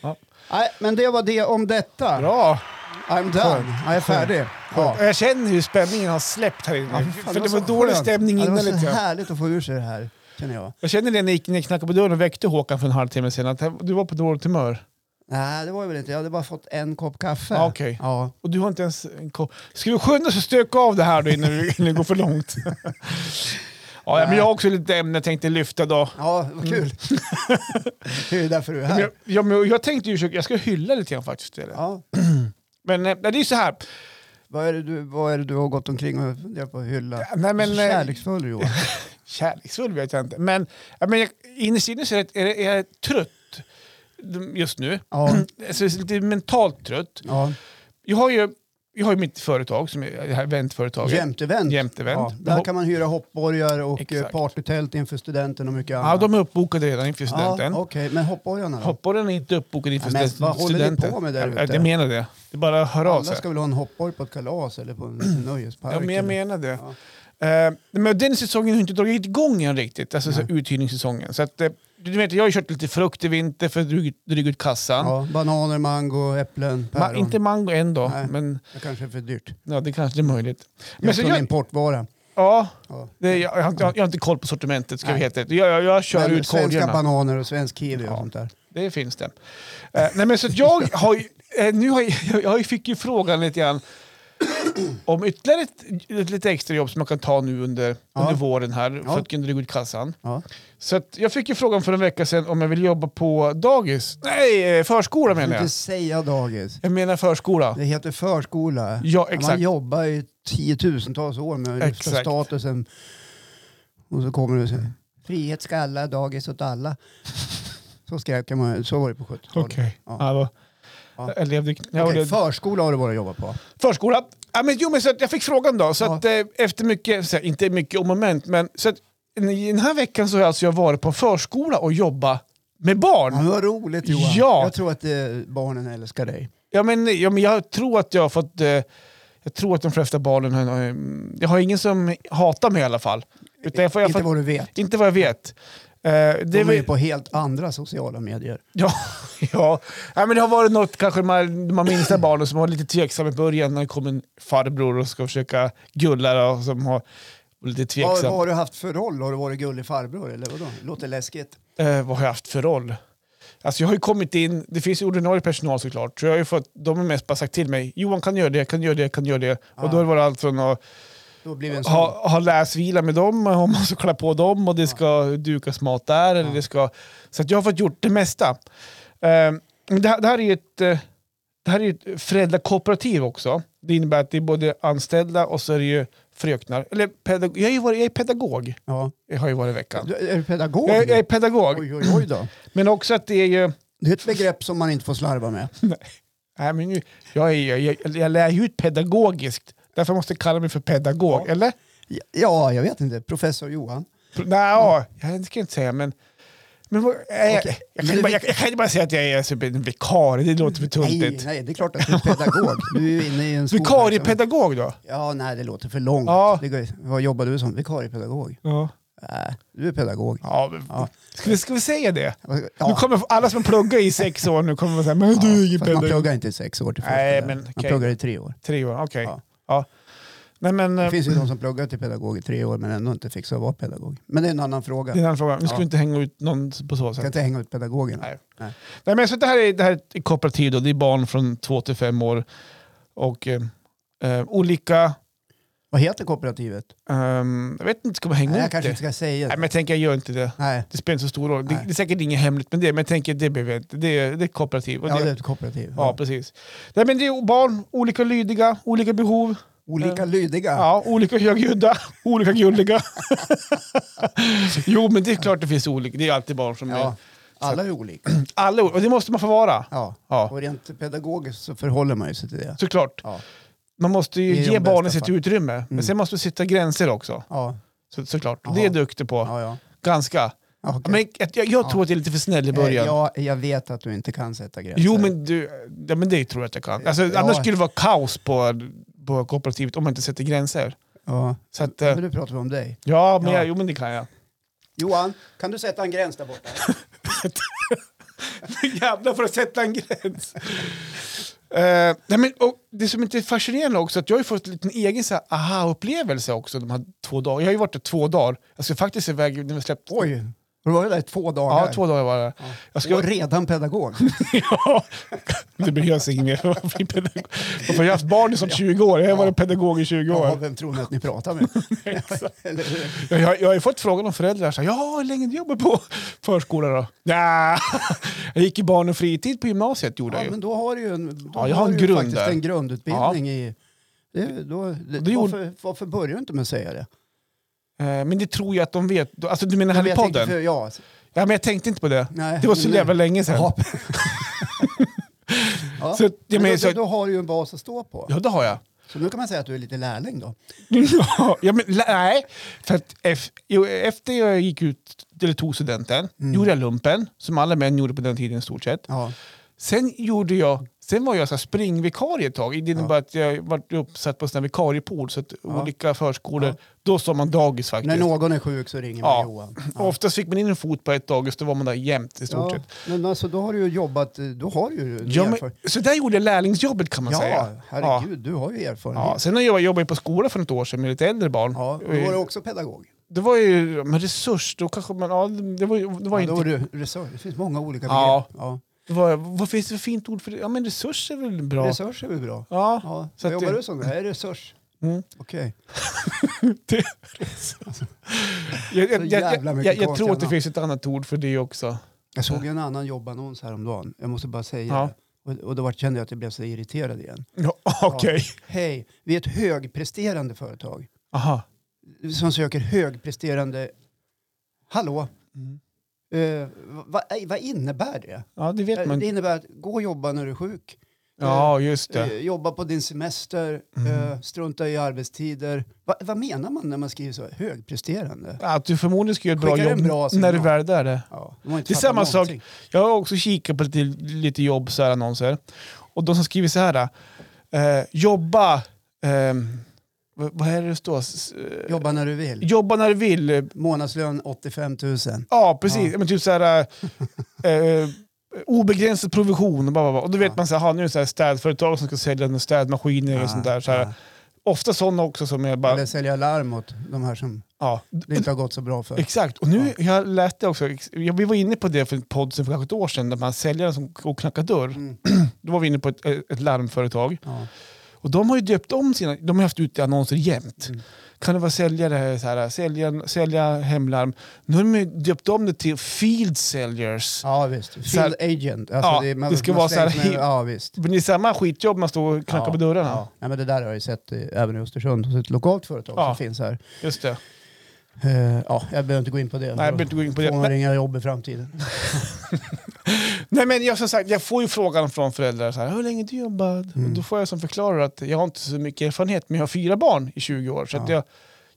Ja.
Nej, men det var det om detta.
Bra!
I'm done. Jag är färdig. Ja.
Jag känner hur spänningen har släppt här inne.
Ja, fan,
för det var,
så
dålig
skönt.
stämning
ja,
innan
Det var
lite.
så
grann.
härligt att få ur sig det här, känner jag.
Jag känner det när jag gick ner och knackade på dörren och väckte Håkan för en halvtimme sedan. Att du var på dåligt humör.
Nej, det var jag väl inte. Jag hade bara fått en kopp kaffe.
Ja, Ah, okej.
Ja.
Och du har inte ens en kopp. Ska vi skynda oss och stöka av det här då innan vi- innan det går för långt? ja, men jag har också lite ämne jag tänkte lyfta då.
ja, vad kul. det är ju därför du är
Men jag,
här.
Mm. ja, men jag tänkte ju försöka, jag ska hylla lite grann faktiskt. Eller?
Ja.
Men eh, nej, det är så här.
Vad, är det du, vad är det du har gått omkring och funderat på att hylla?
Nej, men,
Så
eh,
Kärleksfull Johan.
Kärleksfull vet jag inte. Men, ja, men jag, innerst inne så är jag, är, jag- är jag trött just nu.
Ja.
Alltså, lite mentalt trött.
ja.
Jag har ju, jag har ju mitt företag, som är det här eventföretaget.
Jämtevent.
Jämtevent.
Ja, där kan man hyra hoppborgar och
Exakt.
eh, partytält inför studenten och mycket
Ja,
annat.
de är uppbokade redan inför studenten.
Ja, Okej, men hoppborgarna då?
Hoppborren är inte uppbokad inför
Ja, men
studenten.
vad håller ni
studenten.
på med där
Jag,
ute?
jag menar det. Det är bara att höra av
Alla
sig.
ska väl ha en hoppborg på ett kalas eller på en liten nöjespark?
Ja, men jag
eller-
menar det. Eh, men den säsongen har inte dragit igång än riktigt, alltså så här uthyrningssäsongen. Så att, eh, du vet, jag har ju kört lite frukt i vinter för att dryga dryga ut kassan.
Ja, bananer, mango, äpplen,
Ma
päron.
inte mango än då,
Nej.
men
Det kanske är för dyrt.
ja, det kanske är möjligt. Men
Jag
så
tror det är
jag,
importvara.
ja,
Ja.
det, jag, jag, har inte- jag har inte koll på sortimentet, ska jag
Nej.
heta. det. Jag, jag, jag kör
Men
ut
svenska
korgarna.
bananer och svensk kiwi
Ja.
och sånt där.
Det finns det. Eh, nej, men så att jag har ju, eh, nu har jag, jag fick ju frågan lite grann om ytterligare ett, ett lite extra jobb som man kan ta nu under,
Ja.
under våren här
Ja.
för att kunna dryga ut kassan.
Ja.
Så att jag fick ju frågan för en vecka sedan om jag vill jobba på dagis. Nej, eh, förskola
Jag
menar
inte
jag.
säga dagis.
Jag menar förskola.
Det heter förskola.
Ja,
Man
exakt.
jobbar i tiotusentals år med den högsta
Exakt.
statusen. Och så kommer du och säger frihet ska alla, dagis åt alla. Så skrek man, så var det på 70-talet.
Okej.
Ja.
Ja. då-
Ja.
Jag levde, jag
Okej,
levde.
förskola har du bara jobbat på.
Förskola. Ja, men, jo, men så att jag fick frågan då. Så
Ja.
att, eh, efter mycket, så här, inte mycket om moment, men så att, i den här veckan så har alltså jag varit på en förskola och jobbat Med barn?
Ja, men vad roligt Johan.
Ja.
Jag tror att eh, barnen älskar dig.
Ja, men, ja, men jag tror att jag har fått... Eh, jag tror att de flesta barnen... har- eh, Jag har ingen som hatar mig i alla fall. Utan jag får, jag
Inte
får,
vad du vet.
inte vad jag vet. Eh,
De
det
är
var,
ju på helt andra sociala medier.
ja, ja. Nej, men det har varit något, kanske de här, de här minsta barnen som var lite tveksamma i början när det kom en farbror och ska försöka gulla och som har var lite
Vad, vad
tveksam.
har du haft för roll? Har du varit gullig farbror eller vadå? Låter läskigt.
Eh, vad har jag haft för roll? Alltså jag har ju kommit in, det finns ju ordinarie personal såklart, så jag har ju fått, de har mest bara sagt till mig Johan kan göra det, kan göra det, kan göra det. Och då har det varit allt från att
Då blir vi en sån.
ha, ha läsvila med dem, och man ska klä på dem och det ska dukas mat där. Eller det ska, så att jag har fått gjort det mesta. Eh, men det, här- det här är ju ett, eh, det här är ju ett föräldrakooperativ också. Det innebär att det är både anställda och så är det ju fröknar. Eller pedag- jag, är ju varit, jag är pedagog,
Ja.
jag har ju varit i veckan.
Du, är du pedagog?
Jag, jag är pedagog,
Oj, oj, oj då.
men också att det är ju...
Det är ett begrepp som man inte får slarva med.
Nej, men nu, jag, är, jag, jag, jag lär ju ut pedagogiskt, därför måste jag kalla mig för pedagog. Eller?
Ja, jag vet inte. Professor Johan.
Nej, ja, jag ska inte säga, men... men vad, jag, jag,
Okej.
jag, kan ju bara, jag, jag kan ju bara säga att jag är typ en vikarie, det låter för
Nej,
tuntigt.
nej, det är klart att du är pedagog. Du är inne i en skola.
Vikariepedagog då?
Ja, nej, det låter för långt.
Ja.
Det går- vad jobbar du som? Vikariepedagog?
Ja.
Nej, du är pedagog.
men,
Ja.
Ska, vi, ska vi säga det?
Ja,
Nu kommer alla som pluggar i sex år nu kommer att säga men du är ingen
fast man
pedagog.
pluggar inte i sex år till
Nej,
förskollärare.
men
Man
okej.
pluggar i tre år.
Tre år, okej. Ja.
Ja.
Nej, men,
Det
eh,
finns ju de som pluggar till pedagog i tre år men ändå inte fixar att vara pedagog. Men det är en annan fråga.
det är en annan fråga. Vi ska
Ja.
inte hänga ut någon på så
Jag kan
sätt.
inte hänga ut pedagogerna.
Nej.
Nej.
Nej, men så det, här är, det här är ett kooperativ, då. det är barn från två till fem år. Och eh, eh, olika...
Vad heter kooperativet?
ehm, jag vet inte, ska man hänga
Nej, jag
ut det?
kanske inte ska säga
Nej,
det.
men jag tänker jag gör inte det.
Nej,
Det spelar inte så stor roll. Det,
Nej.
det är säkert inget hemligt med det, men jag tänker att det behöver jag inte. Det är, det är kooperativ. Och
ja,
det,
det är ett kooperativ.
ja, precis. Nej, men det är barn, olika lydiga, olika behov,
Olika lydiga.
ja, olika högljudda, olika gulliga. jo, men det är klart det finns olika. Det är alltid barn som är...
Ja, Alla är olika.
Alla, och det måste man få vara.
Ja.
Ja,
Och rent pedagogiskt så förhåller man ju sig till det.
såklart.
Ja.
Man måste ju
I de
ge
bästa
barnen sitt
fall.
utrymme, men
Mm.
sen måste man sätta gränser också.
Ja,
Så, såklart.
Jaha.
Det är jag duktig på.
ja, ja.
Ganska.
ja okej.
Men jag, jag, jag tror att jag är lite för snäll i början.
Eh, Ja, jag vet att du inte kan sätta gränser.
Jo, men, du, ja, men det tror jag att jag kan. Alltså,
Ja.
Annars skulle det vara kaos på, på kooperativet om man inte sätter gränser.
Ja.
Så att, eh,
Men nu pratar vi om dig.
ja, men
Ja.
Jag, jo, men det kan jag.
Johan, kan du sätta en gräns där borta?
Jävlar för att sätta en gräns. Eh, nej, men, och det som inte är fascinerande också att jag har ju fått en liten egen så här, aha-upplevelse också de här två dagarna. Jag har ju varit där två dagar. Jag ska faktiskt iväg när vi släppte...
Oj, har du varit där i två dagar?
Ja, två dagar var det. Jag
Och
ska,
redan pedagog.
ja, det behövs inget mer. för att bli pedagog. Varför har jag har haft barn i som 20 år. Jag har varit pedagog i 20 år.
Ja, vem tror ni att ni pratar med? Eller hur?
Jag, jag, jag har ju fått frågan om föräldrar. Så här, ja, hur länge du jobbar på förskola då? Ja. Jag gick i barn och fritid på gymnasiet. Gjorde
ja,
jag ju.
men då har du ju en, då
Ja, jag har
du
en
ju
grund
faktiskt
där.
en grundutbildning i... Det, då, det,
Det gjorde-
varför, varför börjar du inte med att säga det?
Eh, Men det tror jag att de vet. Alltså, du menar här
Men
i
jag tänker
podden?
För, ja,
Ja, men jag tänkte inte på det.
nej,
Det var så
men-
jävla länge sedan.
Ja.
Ja,
ja.
så, att- ja,
men
men,
då,
så,
då har du ju en bas att stå på.
ja det har jag.
Så nu kan man säga att du är lite lärling då.
ja, men, lä- nej, för att ef- jo, efter jag gick ut, eller tog studenten,
Mm.
gjorde jag lumpen, som alla män gjorde på den tiden i stort sett.
Ja.
Sen, gjorde jag, sen var jag så här springvikarie ett tag. Det innebär att jag var uppsatt på en sån här vikariepool, så att olika förskolor, då sa man dagis faktiskt.
När någon är sjuk så ringer man
Ja.
Johan.
Och Oftast fick man in en fot på ett dagis, då var man där jämt i stort
Ja,
sett.
men alltså då har du ju jobbat, eh, då har du ju en
Ja, men,
erfar-
så där gjorde jag lärlingsjobbet kan man
ja
säga.
herregud, du har ju
Ja. Ja,
erfarenhet.
sen har jag jobbat på skola för något år sedan med lite äldre barn.
Ja, då var du också pedagog.
Det var ju men resurs, då kanske man... Ja, det var, ju- det
Ja,
var ju
då
inte...
var du resurs. Det finns många olika begrepp.
Ja.
Ja.
Det var, vad finns det för fint ord för det? Ja, men resurs är väl bra?
Resurs är väl bra?
Ja.
Ja.
Så
Så
att
jobbar
det-
du som det? Är resurs?
Mm.
Okej.
Det- jag, jag,
Så
jag,
jävla
jag,
mycket
jag, jag
konstiga
tror att det
namn.
finns ett annat ord för det också.
Jag såg ju en annan jobbannons häromdagen. Jag måste bara säga
Ja.
det. Och, och då var, kände jag att jag blev så irriterad igen.
Ja, Okej.
Hej, vi är ett högpresterande företag
Aha.
som söker högpresterande... Hallå?
Mm.
Eh, vad, vad innebär det?
Ja, det
Eh,
vet man.
Det innebär att gå och jobba när du är sjuk.
Ja, Mm. just
eh,
det.
jobba på din semester, eh, strunta i arbetstider. Va, vad menar man när man skriver så? Högpresterande?
Att du förmodligen ska göra ett bra
Skickar
jobb
en bra
när du
signal.
väl är där. det.
Ja, de har inte
Det är
fattat
samma sak.
någonting.
Jag har också kikat på lite, lite jobb, så här, annonser. Och de som skriver så här. Eh, jobba... ehm, vad vad är det det står? S- eh,
Jobba när du vill.
Jobba när du vill. eh,
Månadslön 85 000.
Ja, precis. Men typ så här... eh, eh, obegränsad provision. Och, bara, bara. och då vet
Ja.
man så här, aha, nu är det så här städföretag som ska sälja några städmaskiner och sånt där. Så här.
Ja.
Ofta sådana också som är bara...
Eller sälja larm åt de här som
Ja.
det inte har gått så bra för.
Exakt, och nu, jag läste också, ex- ja, vi var inne på det för en podd sen för kanske ett år sedan, där man säljare som går och knackar dörr.
Mm.
Då var vi inne på ett, ett larmföretag.
Ja.
Och de har ju döpt om sina, de har haft ute annonser jämt.
Mm.
Kan det vara säljare, så här, sälja, sälja hemlarm. Nu har de ju döpt om det till Field Sellers.
ja visst, field
Så här-
agent. Alltså,
Ja, det ska vara så här
slängs med-
hi-
Ja visst.
Men det är samma skitjobb man står och knackar
Ja,
på dörrarna.
Ja. Nej, men det där har jag ju sett eh, även i Östersund hos ett lokalt företag
Ja.
som finns här.
Just det.
Eh, ja, jag behöver inte gå in på det.
Nej, jag behöver inte gå in på det.
Får man ringa jobb i framtiden?
Nej men jag, som sagt, jag får ju frågan från föräldrar så här, hur länge har du jobbat?
Mm.
Och då får jag som förklarar att jag har inte så mycket erfarenhet men jag har fyra barn i 20 år. Så att
Ja.
jag,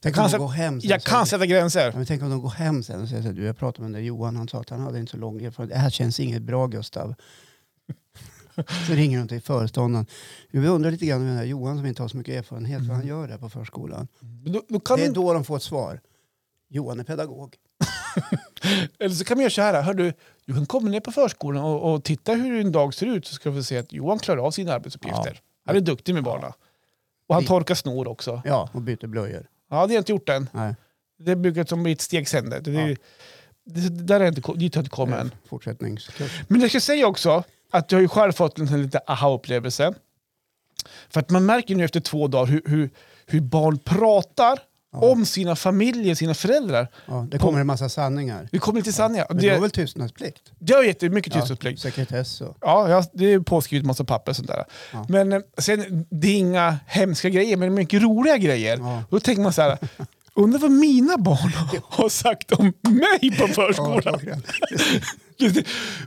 Tänk
kan
om de
sätta-
går hem sen
jag
och
kan
säger-
sätta gränser.
Ja, men tänk om de går hem sen och säger så här, du jag pratade med den där Johan, han sa att han hade inte så lång erfarenhet. Det här känns inget bra Gustav. Så ringer de till föreståndaren. Jo, Vi undrar lite grann om den här Johan som inte har så mycket erfarenhet, vad
Mm.
han gör där på förskolan.
Men Då, då kan
Det är
man-
då de får ett svar. Johan är pedagog.
Eller så kan man göra så här, hör du, du kan komma ner på förskolan och, och titta hur en dag ser ut så ska du få se att Johan klarar av sina arbetsuppgifter. Han är duktig med barnen. Och han
Vi-
torkar snor också.
Ja, och byter blöjor.
Ja, det har jag inte gjort än.
Nej,
Det brukar som bli ett steg sen. Det, det,
Ja.
det, det där är inte, ko- dit har jag inte kommit än.
Eh, fortsättningskurs.
Men jag ska säga också att jag har ju själv fått en sån lite aha-upplevelse. För att man märker nu efter två dagar hur, hur, hur barn pratar om sina familjer, sina föräldrar.
Ja, det kommer en massa sanningar.
Vi kommer till sanningar.
Men det
Det,
var väl tystnadsplikt?
det har jättemycket tystnadsplikt.
Sekretess och...
Ja, jag, det är påskrivet massa papper och sånt där.
Ja.
Men eh, sen, det är inga hemska grejer, men det är mycket roliga grejer.
Ja.
Då tänker man så här, undrar vad mina barn har sagt om mig på förskolan.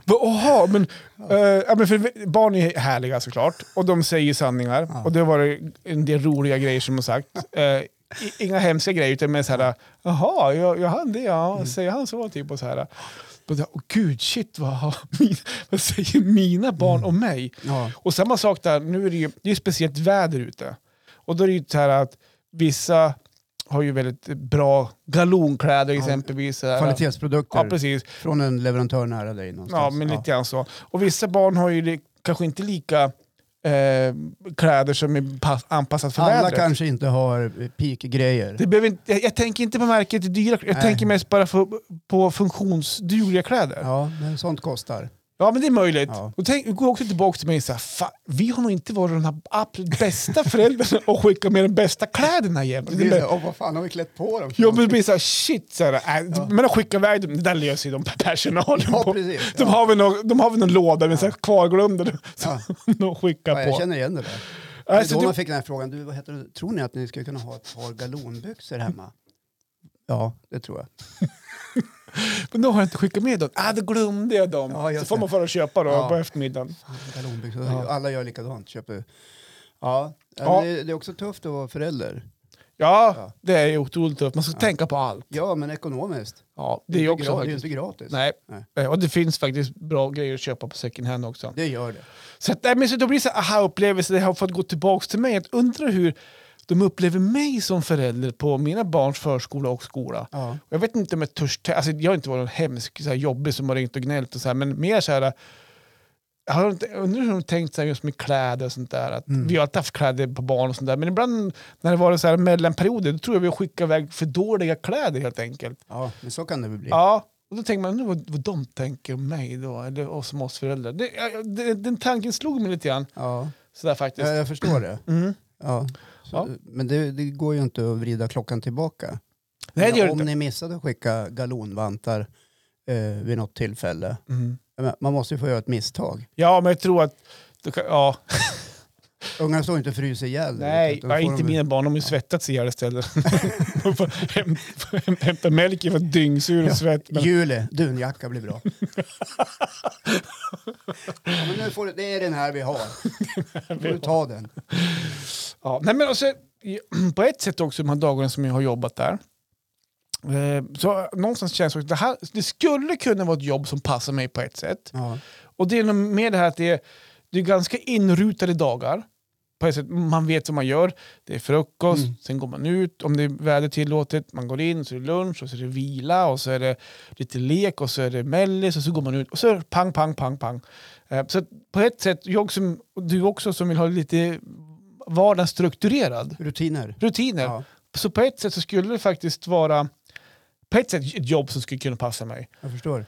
Vad- Jaha, men, eh, ja, men för barn är härliga såklart och de säger sanningar. Och det var det en del roliga grejer som har sagt. Eh, i- inga hemska grejer, utan mer så här, jaha, jag, jag hann det, ja. säger han så? Typ, och så här. Och jag, Åh gud, shit, vad, har mina, vad säger mina barn om mig?
Ja.
Och samma sak där, nu är det ju det är ju speciellt väder ute. Och då är det ju så här att vissa har ju väldigt bra galonkläder exempelvis. så här.
Kvalitetsprodukter
Ja, precis.
från en leverantör nära dig
Ja,
någonstans.
men lite grann så. Och vissa barn har ju li- kanske inte lika eh, kläder som är pass, anpassat för
Alla
vädret.
kanske inte har eh, peak-grejer.
Det behöver inte, jag, jag tänker inte på märket det dyra Jag
Nej.
tänker mest bara på, på funktionsdugliga kläder. Ja.
Ja, men sånt kostar.
men det är möjligt.
Ja.
Och tänk, gå också tillbaka till mig och säga, "Fan, vi har nog inte varit de här absolut bästa föräldrarna och skickat med de bästa kläderna jämt.
Det är så, åh, vad fan har vi klätt på dem? för?"
Jag blir såhär, shit, så här, äh, men de skickar iväg dem, det där löser ju de personalen
Ja,
på.
precis.
De, har väl någon, de har väl någon låda med ja. kvarglömda som
Ja.
de skickar
Ja,
på.
jag känner igen det där. Det är
Alltså,
då
du,
man fick den här frågan, du, vad heter det? tror ni att ni skulle kunna ha ett par galonbyxor hemma? Ja, det tror jag.
men då har jag inte skickat med dem. Ah, då glömde jag dem.
Ja, just
så får
det.
man fara och köpa då
Ja.
på eftermiddagen.
Fan, galonbyxor.
Ja.
Alla gör likadant. Köper. Ja, ja,
Ja.
men Det, det är också tufft att vara förälder.
Ja,
Ja.
det är ju otroligt tufft. Man ska tänka på allt.
Ja, men ekonomiskt.
Ja, det är ju
inte
också
gra- det är ju
faktiskt.
inte gratis.
Nej. Eh,
Nej.
och det finns faktiskt bra grejer att köpa på second hand också.
Det gör det.
Så, att, nej, men så då blir det så här, aha-upplevelse, det har fått gå tillbaka till mig. Att undra hur de upplever mig som förälder på mina barns förskola och skola.
Ja.
Och Jag vet inte om jag törs... tä- Alltså, jag har inte varit någon hemsk så här, jobbig som har ringt och gnällt och så här, men mer så här... Jag har inte, jag undrar hur de tänkt så här, just med kläder och sånt där. Att Vi har alltid haft kläder på barn och sånt där, men ibland när det varit så här mellanperioder, då tror jag vi har skickat iväg för dåliga kläder helt enkelt.
ja, men så kan det väl bli.
Ja, och då tänker man, undrar vad, vad de tänker om mig då, eller oss som oss föräldrar. Det, jag- jag- det, den tanken slog mig lite grann,
Ja.
så där faktiskt.
Ja, jag förstår det.
Mm.
Ja. Så,
Ja.
Men det, det går ju inte att vrida klockan tillbaka.
Nej, det
Men
gör det
om
inte.
ni missade att skicka galonvantar eh, vid något tillfälle.
Mm.
Jag menar, Man måste ju få göra ett misstag.
Ja, men jag tror att... då kan- Ja.
Ungarna står inte och fryser ihjäl.
Nej,
utan då
ja,
får
inte
de-
mina barn. De har ju svettats ihjäl istället. De får häm- får häm- Hämta mjölk för dyngsur och svett. Men,
Juli, dunjacka blir bra. ja, men nu får du, det är den här vi har. får du ta den.
ja. Nej, men alltså, i- på ett sätt också de här dagarna som jag har jobbat där. eh, Så någonstans känns det också, det, här, det skulle kunna vara ett jobb som passar mig på ett sätt.
Ja.
Och det är nog med det här att det är, det är ganska inrutade dagar. På ett sätt, man vet vad man gör. Det är frukost,
Mm.
sen går man ut om det är väder tillåtet. Man går in, så är det lunch, och så är det vila, och så är det lite lek, och så är det mellis, och så går man ut. Och så är det pang, pang, pang, pang. Eh, Så att på ett sätt, jag som, och du också som vill ha lite vardagen strukturerad,
Rutiner.
rutiner.
Ja.
Så på ett sätt så skulle det faktiskt vara på ett sätt ett jobb som skulle kunna passa mig.
Jag förstår.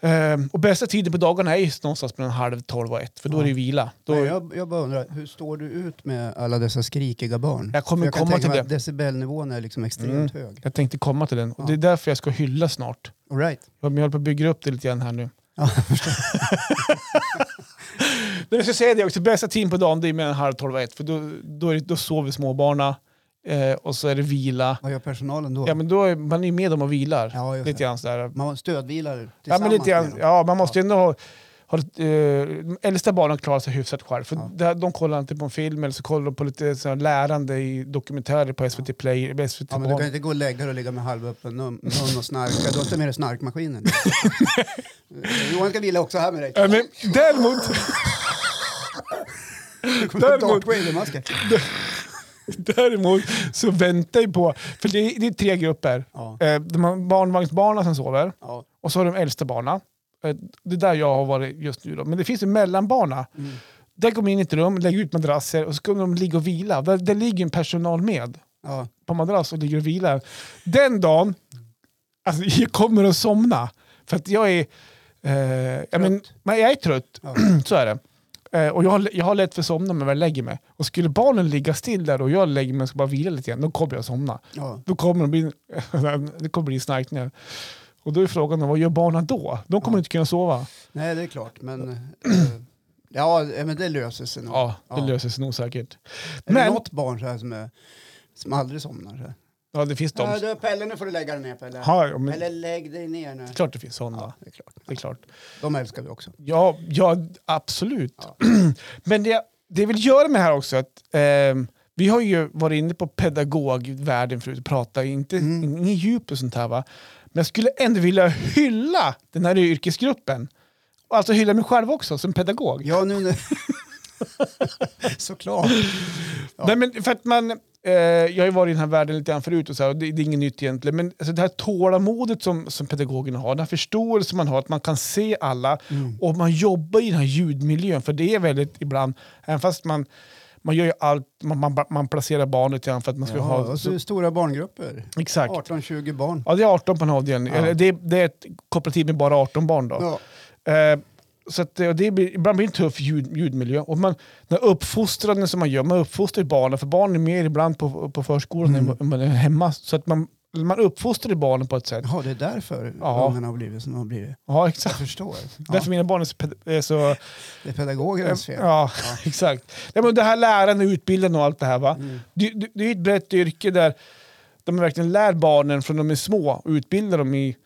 Ehm, och bästa tiden på dagarna är just någonstans mellan halv tolv och ett, för då är det vila. Då,
Men jag, jag bara undrar, hur står du ut med alla dessa skrikiga barn?
Jag kommer
För kan
komma
tänka
till
mig
det. Mm.
att Decibelnivån är liksom extremt hög.
Jag tänkte komma till den, och
Ja.
det är därför jag ska hylla snart.
All right.
Jag jag håller på att bygga upp det lite grann här nu.
Ja,
Nej, men jag ska säga det också, bästa tiden på dagen det är mellan halv tolv och ett, för då, då, är det, då sover småbarna eh, och så är det vila.
Vad gör personalen då?
Ja, men då är man är med dem och vilar.
Ja, just
lite
det.
grann sådär.
Man stödvilar
Ja,
tillsammans
men lite grann,
med dem.
ja, man måste ju ändå ha... ha eh, de äldsta barnen klarar sig hyfsat själv. För
Ja.
där, de kollar inte på en film eller så kollar de på lite så här lärande i dokumentärer på SVT Play. eller SVT
Ja, men du
Barn.
kan inte gå och lägga dig och ligga med halvöppen mun mun och snarka. Du har inte med dig snarkmaskinen. Johan ska vila också här med dig.
Ja, men däremot,
Du kommer ha
däremot-
Darth Vader-masken.
däremot så väntar jag på... För det är, det är tre grupper.
Ja.
Eh, de har barnvagnsbarnen som sover
Ja.
och så har de äldsta barnen. Eh, det är där jag har varit just nu. Då. Men det finns ju mellanbarna.
Mm.
Där går man in i ett rum, lägger ut madrasser och så kommer de ligga och vila. Där, där ligger en personal med.
Ja.
på madrass och ligger och vilar. Den dagen, alltså, jag kommer att somna. För att jag är, eh, jag, men, men jag är trött,
Ja.
så är det. Eh, och jag har, jag har lätt för att somna men jag lägger mig. Och skulle barnen ligga still där och jag lägger mig och ska bara vila lite grann, då kommer jag att somna.
Ja.
Då kommer det bli, det kommer bli snarkningar. Och då är frågan, vad gör barnen då? De kommer
Ja.
inte kunna sova.
Nej, det är klart, men... eh, ja, men det löser sig nog.
Ja, det
Ja.
löser sig nog säkert.
Är det
Men,
något barn så här som, är, som aldrig somnar? Så här?
ja det finns de.
Ja, du, Pelle, nu får du lägga dig ner, Pelle.
Ja, ja, men,
Eller lägg dig ner nu.
klart det finns sådana.
Ja, det är klart.
Det är klart.
De älskar vi också.
Ja, ja absolut.
Ja.
Men det, det jag vill göra med det här också, att ehm, vi har ju varit inne på pedagogvärlden förut och pratat, inte
Mm.
inget djup och sånt här va. Men jag skulle ändå vilja hylla den här yrkesgruppen. Och Alltså hylla mig själv också som pedagog.
Ja, nu... nu. Såklart. Ja.
Nej, men för att man, eh, jag har ju varit i den här världen lite grann förut och, så här, och det, det är inget nytt egentligen. Men alltså, det här tålamodet som, som pedagogerna har, den här förståelsen man har, att man kan se alla och man jobbar i den här ljudmiljön. För det är väldigt ibland, även fast man, man gör ju allt, man, man, man placerar barnet igen för att man ska
Ja,
ha...
och så är
Så,
det stora barngrupper.
exakt.
18-20 barn.
Ja, det är 18 på en avdelning.
Ja.
Eller det, det är ett kooperativ med bara 18 barn då.
Ja.
Eh, så att, eh, det blir, ibland blir det en tuff ljud, ljudmiljö. Och man, den här uppfostraden som man gör, man uppfostrar ju barnen, för barn är mer ibland på, på förskolan
Mm.
än man är hemma. Så att man, man uppfostrar ju barnen på ett sätt.
Jaha, det är därför
Ja.
ungarna har blivit som de har blivit.
Ja,
Jag
exakt.
förstår. Ja,
Därför mina barn är så... ped- Är så
det är pedagogernas fel.
ja, exakt. Nej, men det här lärande, utbildande och allt det här. Va?
Mm.
Det, det, det är ett brett yrke där de verkligen lär barnen från de är små och utbildar dem i,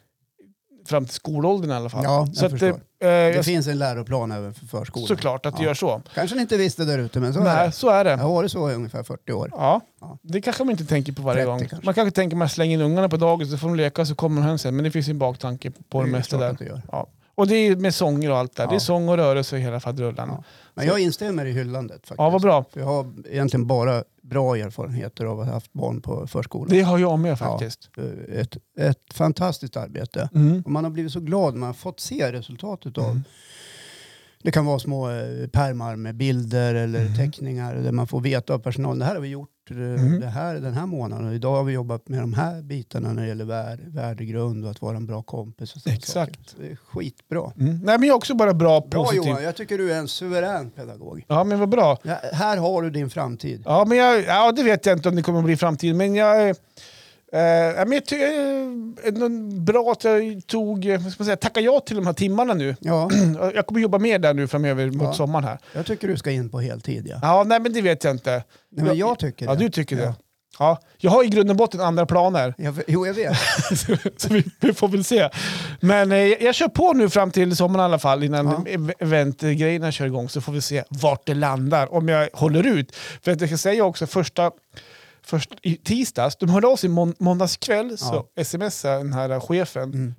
fram till skolåldern i alla fall.
Ja, jag
så att, eh,
förstår.
jag,
Det finns en läroplan även för förskolan.
såklart att det
Ja.
gör så.
Kanske ni inte visste där ute, men så är
Nej,
det.
så är det.
Jag har varit så i ungefär 40 år.
Ja,
Ja.
det kanske man inte tänker på varje
30
gång.
kanske.
Man kanske tänker att man slänger in ungarna på dagis så får de leka så kommer de hem sen. Men det finns ju en baktanke på det,
är
mesta
klart
där.
att det gör.
Ja. Och det är med sånger och allt där. Det är
Ja.
sång och rörelse och hela faderullan. Ja.
Ja. Men jag instämmer i hyllandet faktiskt.
vad bra.
För jag har egentligen bara bra erfarenheter av att ha haft barn på förskolan.
Det har jag med
Ja.
faktiskt.
Ett, ett fantastiskt arbete.
Mm.
Och man har blivit så glad man har fått se resultatet av.
Mm.
Det kan vara små eh, pärmar med bilder eller
Mm.
teckningar där man får veta av personalen. Det här har vi gjort eh,
Mm.
det här, den här månaden. Och idag har vi jobbat med de här bitarna när det gäller vär, värdegrund och att vara en bra kompis. Och sådana
Exakt.
saker. Så det är skitbra.
Mm. Nej, men jag är också bara bra,
Bra
positiv.
Johan, jag tycker du är en suverän pedagog.
Ja, men vad bra.
Ja, här har du din framtid.
Ja, men jag, ja, det vet jag inte om det kommer att bli i framtiden. Men jag, är- Eh, ja, men jag tycker eh, ändå bra att jag tog, eh, vad ska man säga, tacka ja till de här timmarna nu.
Ja,
Jag kommer jobba mer där nu framöver mot
Ja.
sommaren här.
jag tycker du ska in på heltid. Ja.
Ja, nej men det vet jag inte.
Nej, men jag tycker
Ja,
det.
du tycker
Ja.
det. Ja, jag har i grund och botten andra planer,
Jag, jo, jag vet.
så, vi, vi får väl se. Men eh, jag, jag kör på nu fram till sommaren i alla fall, innan
Ja.
ev- eventgrejerna kör igång, så får vi se vart det landar, om jag håller ut. För att jag ska säga också, första, först, i tisdags, de hörde av sig mån, måndagskväll, så smsade den här chefen,
Mm.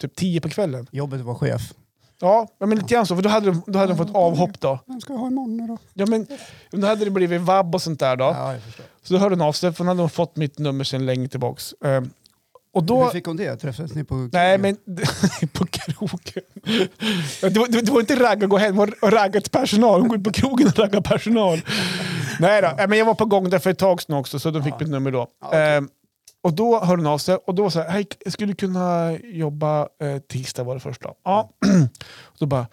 typ 10 på kvällen.
Jobbet var chef.
Ja, men lite grann så, för då hade de, då hade de fått avhopp då.
Vem ska jag ha imorgon nu då?
Ja, men, då hade det blivit vabb och sånt där då.
Ja, jag förstår.
Så då hörde hon av sig, för hon hade fått mitt nummer sedan länge tillbaks. Ehm, och då...
Hur fick hon det? Träffades ni på
Nej, men på krogen. Det var, det var inte ragga gå hem, det var ragga till personal. Hon går ut på krogen och raggar personal. Nej då, nej, men jag var på gång där för ett tag sedan också, så de fick
Ja.
mitt nummer då.
Ja, okej.
Ehm, och då hörde hon av sig och då var så här, hej, skulle du kunna jobba eh, tisdag var det första? Ja. Och då bara,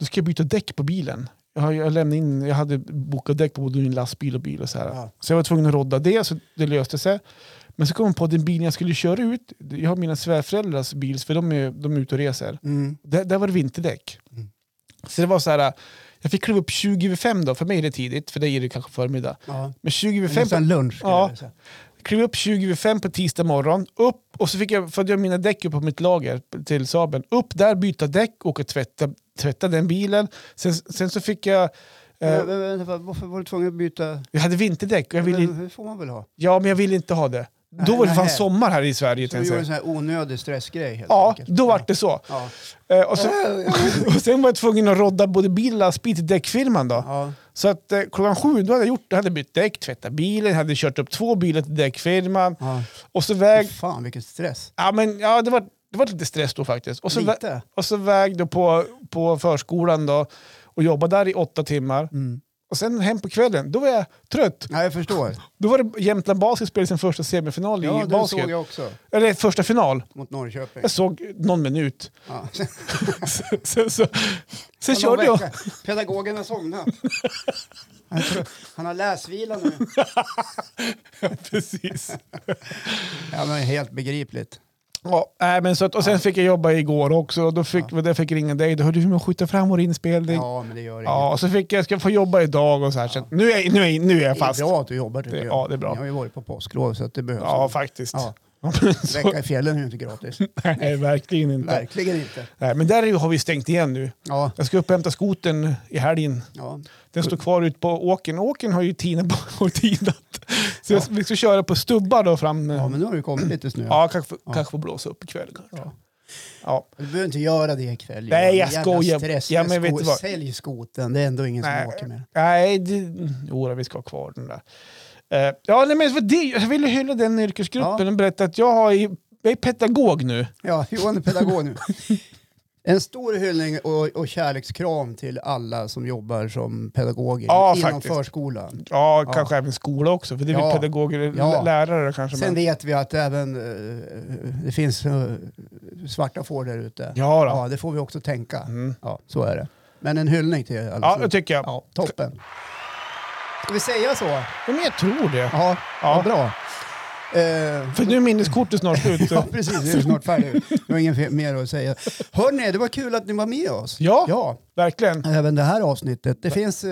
då ska jag byta däck på bilen. Jag, har- jag lämnade in, jag hade bokat däck på både min lastbil och bil och så här.
Ja.
Så jag var tvungen att rodda det, så det löste sig. Men så kom jag på att den bilen jag skulle köra ut, jag har mina svärföräldrars bil, för de är, de är ute och reser.
Mm.
Där, där var det vinterdäck.
Mm.
Så det var så här, jag fick kliva upp 20 över fem då, för mig är det tidigt, för dig är det kanske förmiddag.
Ja.
Men 20 över fem
Fem... Sen lunch. ska
Ja.
jag säga.
Klev upp 20 vid fem på tisdag morgon, upp och så fick jag, för att jag mina däck upp på mitt lager till Saaben. Upp där, byta däck, åka och tvätta, tvätta den bilen. Sen, sen så fick jag, eh,
Men- men- men vad- Varför var du tvungen att byta?
jag hade vinterdäck och jag
Men
ville,
Hur får man väl ha?
ja men jag ville inte ha det. Då
Nej,
var det fan
nej.
sommar här i Sverige.
Så du
tänkte
gjorde
jag
en
säga.
sån här onödig stressgrej helt
Ja,
enkelt.
då var det så.
Ja.
Eh, och, så och sen var jag tvungen att rodda både bil och lastbil till däckfirman då.
Ja.
Så att eh, klockan sju, då hade jag gjort, hade bytt däck, tvättat bilen, hade kört upp två bilar till däckfirman.
Ja.
Och så väg,
Fan vilken stress.
Ja, men, ja det, var, det var lite stress då faktiskt. Och så, vä-
Lite.
och så väg då på, på förskolan då, och jobbade där i åtta timmar.
Mm.
Och sen hem på kvällen, då var jag trött.
Ja, jag förstår.
Då var det Jämtland Basket spelade sin första semifinal
Ja,
i
det
basket.
såg jag också.
Eller första final.
Mot Norrköping.
Jag såg någon minut.
Ja.
sen så, sen
Ja,
Alltså, körde
någon
jag.
vecka. Pedagogen har somnat. Han tror- Han har läsvila nu.
Precis.
Ja, men helt begripligt.
Ja, nej, men så att, och sen fick jag jobba igår också. Och då fick, jag fick ringa dig. Då hörde du hur man skjuter fram vår inspelning. Ja.
Ja, men det gör inget.
och så fick jag, ska jag få jobba idag och så här. Så att nu, är, jag- nu, är, jag- nu är jag
det är
fast.
bra att du jobbar tycker
Det-
jag.
ja, det är bra.
Jag har ju varit på påsklov så att det behövs.
Ja, faktiskt.
Ja.
Ja, men så,
Vecka i fjällen är ju inte gratis.
nej, verkligen inte.
Verkligen inte.
Nej, men där är ju- har vi stängt igen nu.
Ja,
Jag ska upp och hämta skotern i helgen.
ja.
Den står kvar ute på åkern. Åkern har ju tinat. Har tinat. Så jag, vi ska köra på stubbar då fram.
ja,
Ja,
men nu har det kommit lite snö.
kanske, får- kanske får blåsa upp ikväll. Kanske. Ja.
Ja.
Ja.
Du behöver inte göra det ikväll.
Nej,
Johan.
jag
Jävla
skojar.
Stress.
Ja,
med
men vet
sko-
du vad?
Sälj skoten, det är ändå ingen
Nej.
som åker med den.
Nej, det, jo, då, vi ska ha kvar den där. Eh, ja, nej, men för det, jag ville hylla den yrkesgruppen
Ja.
och berätta att jag, har, ju- jag är pedagog nu.
Ja, Johan är pedagog nu. En stor hyllning och, och kärlekskram till alla som jobbar som pedagoger
Ja,
inom
faktiskt.
förskolan.
Ja,
Ja.
kanske även skola också, för det är väl
Ja.
pedagoger,
Ja.
lärare kanske.
Sen
men-
vet vi att även eh, det finns eh, svarta får där ute.
Ja, då.
Ja, det får vi också tänka.
Mm.
Ja, så är det. Men en hyllning till alla.
Ja,
som-
det tycker jag.
ja, toppen. Ska vi säga så?
Ja, men jag tror det.
Ja,
Ja.
vad bra. Eh,
För nu är minneskortet snart slut.
Ja, precis. Vi är snart färdiga. Jag har inget fe- mer att säga. Hörni, det var kul att ni var med oss.
Ja.
ja
Verkligen.
även det här avsnittet. Det finns eh,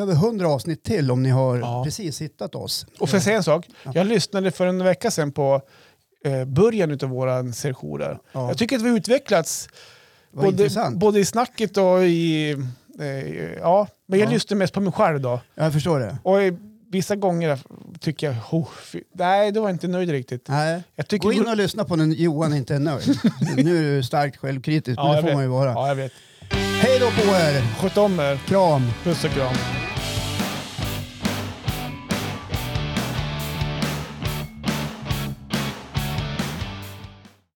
över hundra avsnitt till om ni har
Ja.
precis hittat oss.
Och får jag säga en sak? Jag lyssnade för en vecka sedan på eh, början av våra sessioner.
Ja.
Jag tycker att vi har utvecklats
Vad
både,
intressant.
både i snacket och i... Eh, ja, men jag
Ja.
lyssnar mest på mig själv då.
Jag förstår det.
Och eh, vissa gånger tycker jag... Oh, fy, nej, då var jag inte nöjd riktigt.
Nej.
Jag tycker
Gå in och lyssna på när Johan inte är nöjd. nu är du starkt självkritisk, men
jag
det får
vet.
man ju vara.
Ja, jag vet.
Hej då på er!
Sköt om er.
Kram!
Puss och kram.